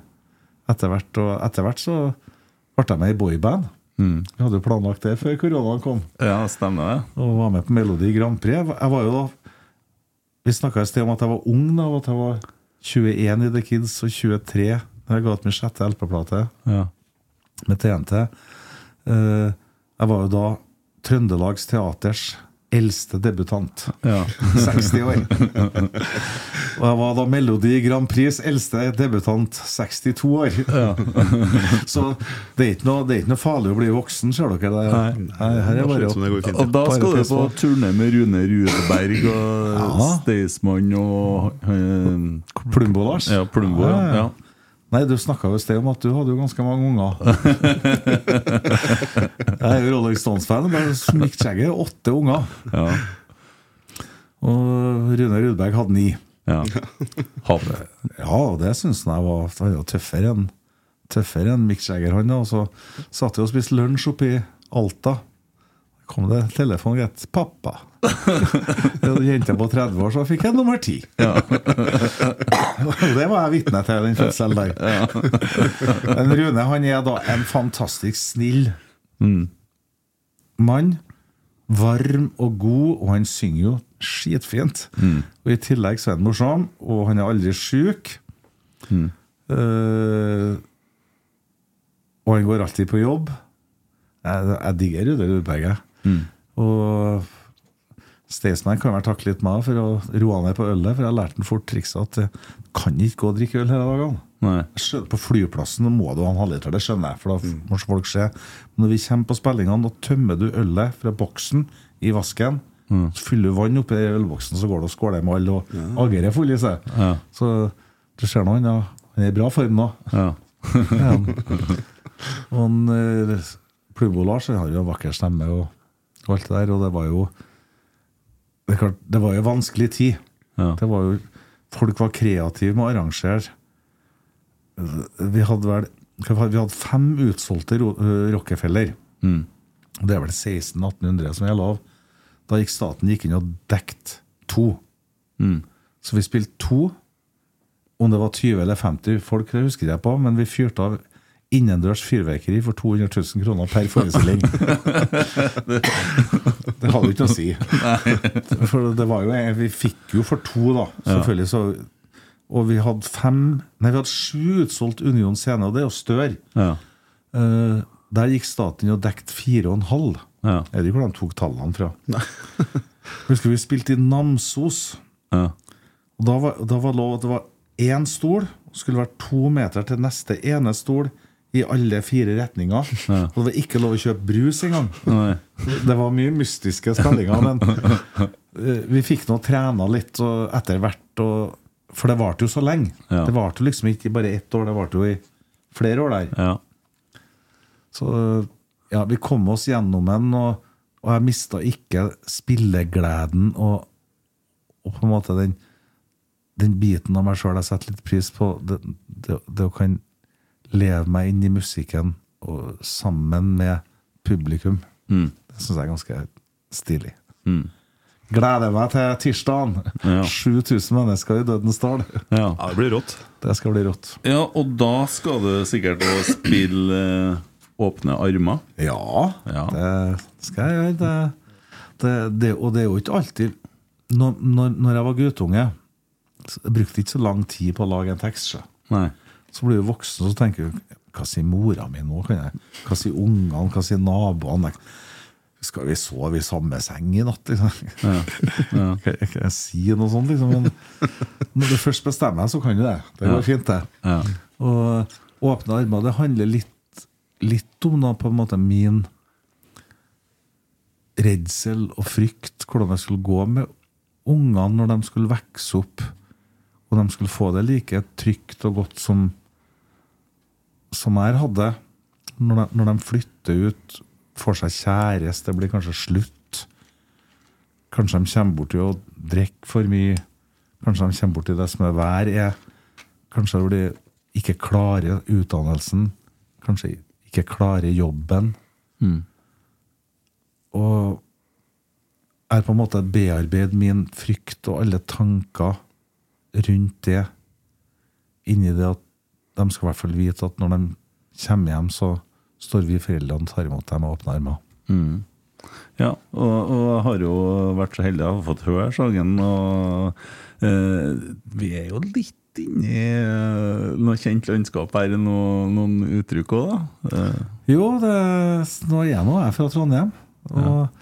etter hvert. Og etter hvert så ble jeg med i boyband. Vi hadde jo planlagt det før koronaen kom
Ja, stemmer det.
og var med på Melodi Grand Prix. Jeg var- Jeg var jo da Vi snakka et sted om at jeg var ung da, og at jeg var 21 i The Kids og 23 da jeg ga ut min sjette LP-plate
Ja.
med TNT. Eh, Jeg var jo da Trøndelags Teaters eldste debutant.
Ja.
60 år. Og jeg var da Melodi Grand Prix' eldste debutant, 62 år. Så det er ikke noe, det er ikke noe farlig å bli voksen, ser dere. Det, her, her er
Det
bare
ser
sånn
ut som det
å
går fint.
Og da
Bare
skal du
pes
på
på.
turné med Rune Rudberg og
Ja.
Staysman og eh,
Plumbo-Lars.
ja, Plumbo. Ja,
Ja, ja.
ja.
Ah. Nei, du snakka jo i sted om at du hadde jo ganske mange unger. jeg er jo Rolling Stones-fan, men Mick Jagger har åtte unger.
ja.
Og Rune Rudberg hadde ni.
ja. Hadde.
Ja, og det syns han jeg var han var tøffere enn tøffere enn Mick Jagger. Han, da. og så satt vi og spiste lunsj oppe i Alta. Da kom det telefon rett 'Pappa'. Jenta på 30 år, så fikk jeg nummer 10. Og det var jeg vitne til den fødselen der. Men Rune han er da en fantastisk snill mann. Varm og god, og han synger jo skitfint. Og I tillegg så er han morsom, og han er aldri sjuk. Eh, og han går alltid på jobb. Jeg, jeg digger Rune Rudberg, jeg. Og Staysman kan vel takke litt meg for å roe ned på ølet, for jeg lærte han fort trikset at eh, kan ikke gå og drikke øl hele dagene.
Nei.
Jeg skjønner, på flyplassen må du ha en halvliter, det skjønner jeg, for da
Mm.
må folk se. Men når vi kommer på spillingene, da tømmer du ølet fra boksen i vasken.
Mm.
Så fyller du vann oppi den ølboksen, så går du og skåler med alle og agerer full i seg. Så du ser nå, han er- han er i bra form nå.
Ja.
Ja. Og han, eh, Plumbo Lars han har jo en vakker stemme og, og alt det der, og det var jo Det, er klart, det var jo en vanskelig tid.
Ja.
Det var jo, folk var kreative med å arrangere. Vi hadde vel hva var det, vi hadde fem utsolgte ro- eh, Rockefeller. Og Det er vel 1600-1800 som gjelder av. Da gikk staten gikk inn og dekket to. Så vi spilte to om det var 20 eller 50 folk, det husker jeg på, men vi fyrte av innendørs fyrverkeri for 200 000 kroner per forestilling. det hadde jo ikke å si. For det var jo, vi fikk jo for to, da. Selvfølgelig så Og vi hadde fem Nei, vi hadde sju utsolgt Union Scene, og det er jo større.
Ja.
Eh, der gikk staten inn og dekket fire og en halv.
Ja.
Jeg vet ikke hvor de tok tallene fra. Husker vi spilte i Namsos.
Ja.
Og da var, da var lov at det var én stol, og skulle være to meter til neste ene stol i alle fire retninger. Og det var ikke lov å kjøpe brus engang.
Nei.
Det var mye mystiske spillinger, men eh, vi fikk nå trena litt og etter hvert. Og, for det varte jo så lenge.
Ja.
Det varte jo liksom ikke i bare ett år, det varte jo i flere år der.
Ja.
Så ja, vi kom oss gjennom den, og, og jeg mista ikke spillegleden og, og på en måte den, den biten av meg sjøl jeg setter litt pris på. Det, det, det å kan leve meg inn i musikken og sammen med publikum. Det syns jeg er ganske stilig. Gleder meg til tirsdagen!
Ja.
7000 mennesker i Dødens Dal.
ja.
Ja, det blir rått.
Det skal bli rått.
Ja, og da skal du sikkert å spille eh, Åpne armer.
Ja,
Ja.
det skal jeg gjøre. Det, det, det, og det er jo ikke alltid Når, når, når jeg var guttunge, så jeg brukte ikke så lang tid på å lage en tekst. Så,
Nei.
så blir du voksen og så tenker du, hva sier mora mi nå? Kan jeg? Hva sier ungene? Hva sier naboene? Skal vi sove i samme seng i natt? Liksom? Kan, jeg, kan jeg si noe sånt? Liksom? Men når du først bestemmer deg, så kan du det. Det går fint, det.
Ja.
Og åpne armer, det handler litt, litt om da, på en måte min redsel og frykt, hvordan jeg skulle gå med ungene når de skulle vokse opp, og de skulle få det like trygt og godt som, som jeg hadde. Når de, når de flytter ut, får seg kjæreste, det blir kanskje slutt. Kanskje de kommer borti å drikke for mye. Kanskje de kommer borti det som er vær er. Kanskje de ikke klarer utdannelsen. Kanskje ikke klarer jobben. Og jeg har på en måte bearbeidet min frykt og alle tanker rundt det inni det at de skal i hvert fall vite at når de kommer hjem, så står vi foreldrene og tar imot dem med åpne armer.
Ja, og, og jeg har jo vært så heldig å ha fått høre sangen, og eh, vi er jo litt inne i eh, noe kjent landskap her, noe, noen uttrykk òg, da. Eh,
Jo, det, nå er jeg nå jeg er fra Trondheim. Og,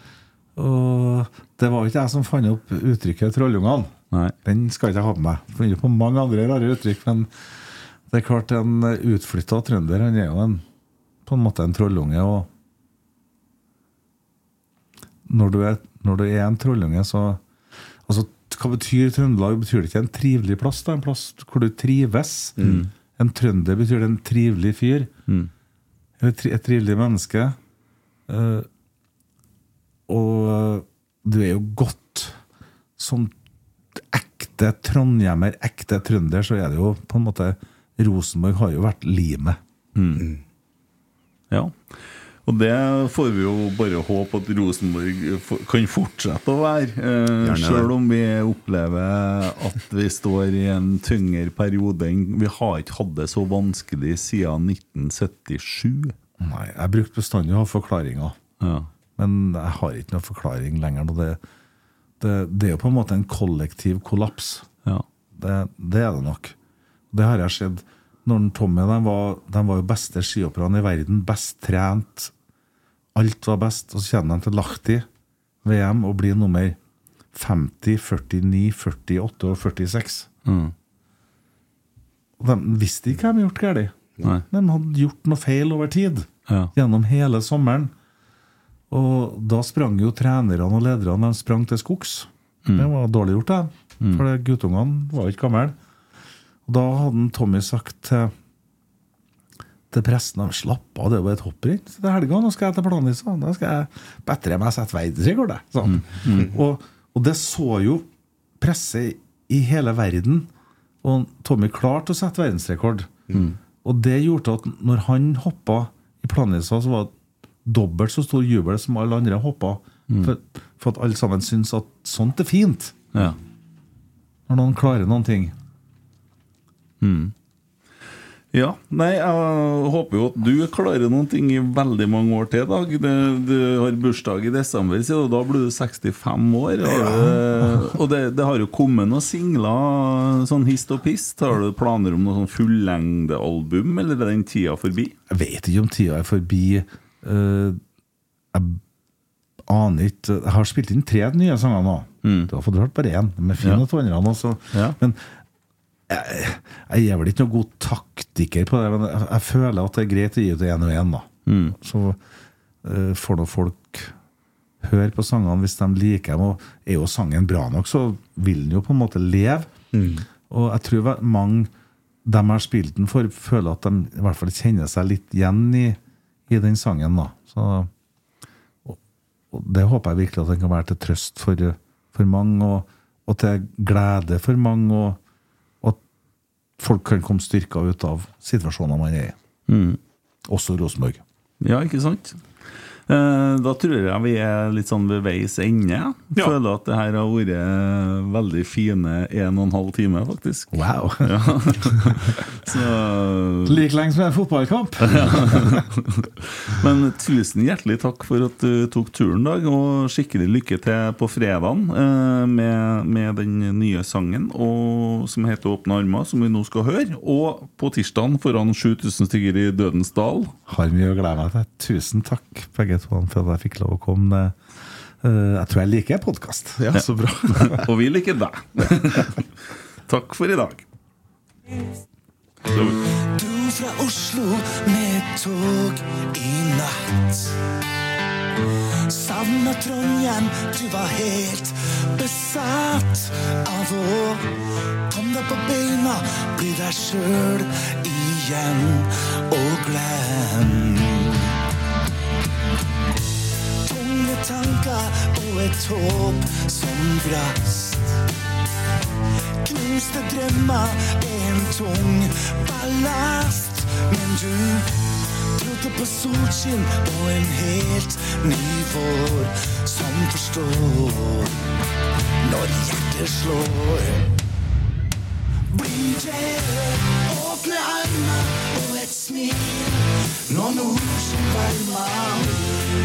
og det var jo ikke jeg som fant opp uttrykket 'trollungene'.
nei.
Den skal ikke jeg ha på meg. Jeg finner på mange andre rare uttrykk, men det er klart en utflytta trønder han er jo en, på en måte en trollunge. Og når du er, når du er en trollunge, så altså, Hva betyr Trøndelag? Betyr det ikke en trivelig plass? da? En plass hvor du trives? En trønder betyr det en trivelig fyr. Eller tri, et trivelig menneske. Eh, og eh, du er jo godt som ekte trondhjemmer, ekte trønder, så er det jo på en måte Rosenborg har jo vært limet.
Ja. Og det får vi jo bare håpe at Rosenborg f- kan fortsette å være. Eh,
det.
selv om vi opplever at vi står i en tyngre periode enn Vi har ikke hatt det så vanskelig siden 1977.
Nei, jeg brukte bestandig å ha forklaringer,
Ja.
men jeg har ikke noen forklaring lenger. Og det, det, det er jo på en måte en kollektiv kollaps.
Ja.
Det, det er det nok. Det har jeg sett. Når den Tommy de var, de var jo beste skihopperne i verden, best trent. Alt var best. Og så kommer de til Lahti VM og blir nummer 50, 49, 48 og 46.
Mm.
Og de visste ikke hva de hadde gjort galt.
Nei.
De hadde gjort noe feil over tid.
Ja.
Gjennom hele sommeren. Og da sprang jo trenerne og lederne de sprang til skogs. Det var dårlig gjort, det. For det- guttungene var jo ikke gamle. Og da hadde han Tommy sagt til, til presten at slapp av, det er jo bare et hopprenn. Så Til helga nå skal jeg til Planica. Da skal jeg bedre meg sette verdensrekord. jeg», sa han. sånn. Og, og det så jo presse i hele verden. Og Tommy klarte å sette verdensrekord. Og det gjorde at når han hoppa i Planica, så var det dobbelt så stor jubel som alle andre hoppa. For, for at alle sammen syntes at sånt er fint
Ja.
når noen klarer noen ting.
Ja, nei, jeg håper jo at du klarer noen ting i veldig mange år til, Dag. Det- Du har bursdag i desember, sier du. Da blir du 65 år. Og, det, og det, det har jo kommet noen singler sånn hist og pist. Har du planer om noe sånn fullengdealbum, eller er den tida forbi?
Jeg vet ikke om tida er forbi. Eh, jeg aner ikke Jeg har spilt inn tre nye sanger nå. Du har fått hørt bare én. De er fine,
Mm. Ja.
ja. andre også.
Ja.
Men jeg, jeg er vel ikke noen god taktiker på det. Men jeg, jeg føler at det er greit å gi ut én og én, da.
Mm.
Så eh, får nå folk høre på sangene hvis de liker dem. Og er jo sangen bra nok, så vil den jo på en måte leve.
Mm.
Og jeg tror vel mange de har spilt den for, føler at de i hvert fall kjenner seg litt igjen i, i den sangen. da så og det håper jeg virkelig at den kan være til trøst for, for mange, og, og til glede for mange, og, og at folk kan komme styrka ut av situasjoner man er i. Også Rosenborg.
Ja, ikke sant? Eh, Da tror jeg vi er litt sånn ved veis ende. Jeg
Ja.
Føler at det her har vært veldig fine en og en halv time, faktisk.
Wow!
Så
Like lenge som en fotballkamp!
Men tusen hjertelig takk for at du tok turen, Dag, og skikkelig lykke til på fredagen eh, med, med den nye sangen og, som heter 'Åpne armer', som vi nå skal høre. Og på tirsdagen foran 7000 stykker i Dødens dal.
Har mye å glede meg til. Tusen takk, begge to, for at jeg fikk lov å komme. Eh, Jeg tror jeg liker podkast.
Ja, så bra.
Og vi liker deg. takk for i dag.
dro fra Oslo med tog i natt. Savna Trondheim, du var helt besatt av å Kom deg på beina, bli deg sjøl igjen og glem. Tunge tanker og et håp som brast. Knuste drømmer er en tung ballast. Men du trodde på solskinn og en helt ny vår som forstår når hjertet slår. Blir det åpne armer og et smil, noen ord som varmer.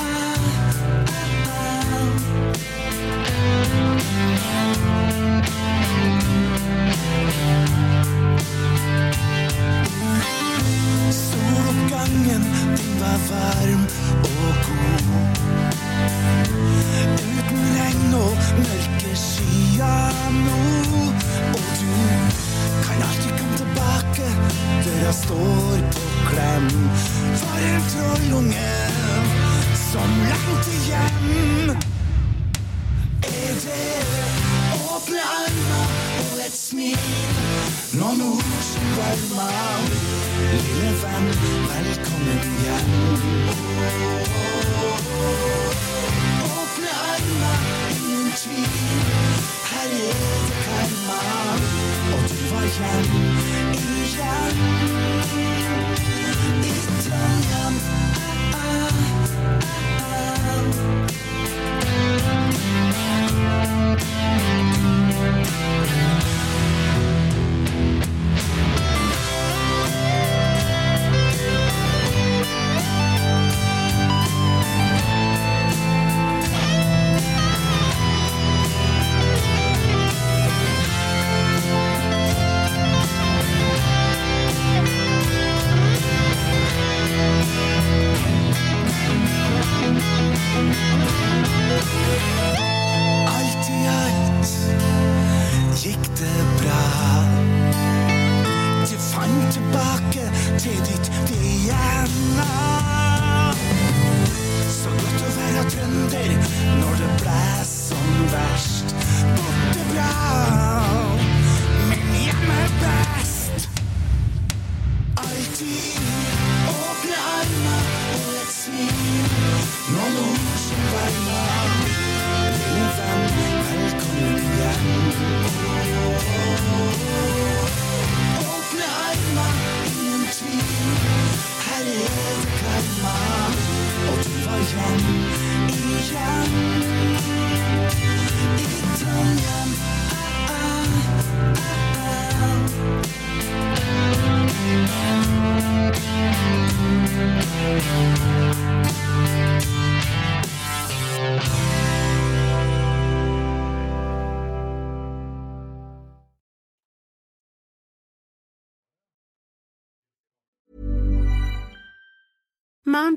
Ah, ah, ah. Soloppgangen din var varm og god. Uten regn og mørke skyer nå. Og du kan alltid komme tilbake, døra står på klem. For en trollunge som lengter hjem. Er det åpne armer og et smil, noen ord som varmer? Lille venn, velkommen hjem. Åpne armer, ingen tvil. Her er det karma, og du var hjem igjen. I Trondheim. Ah, ah, ah.
Mom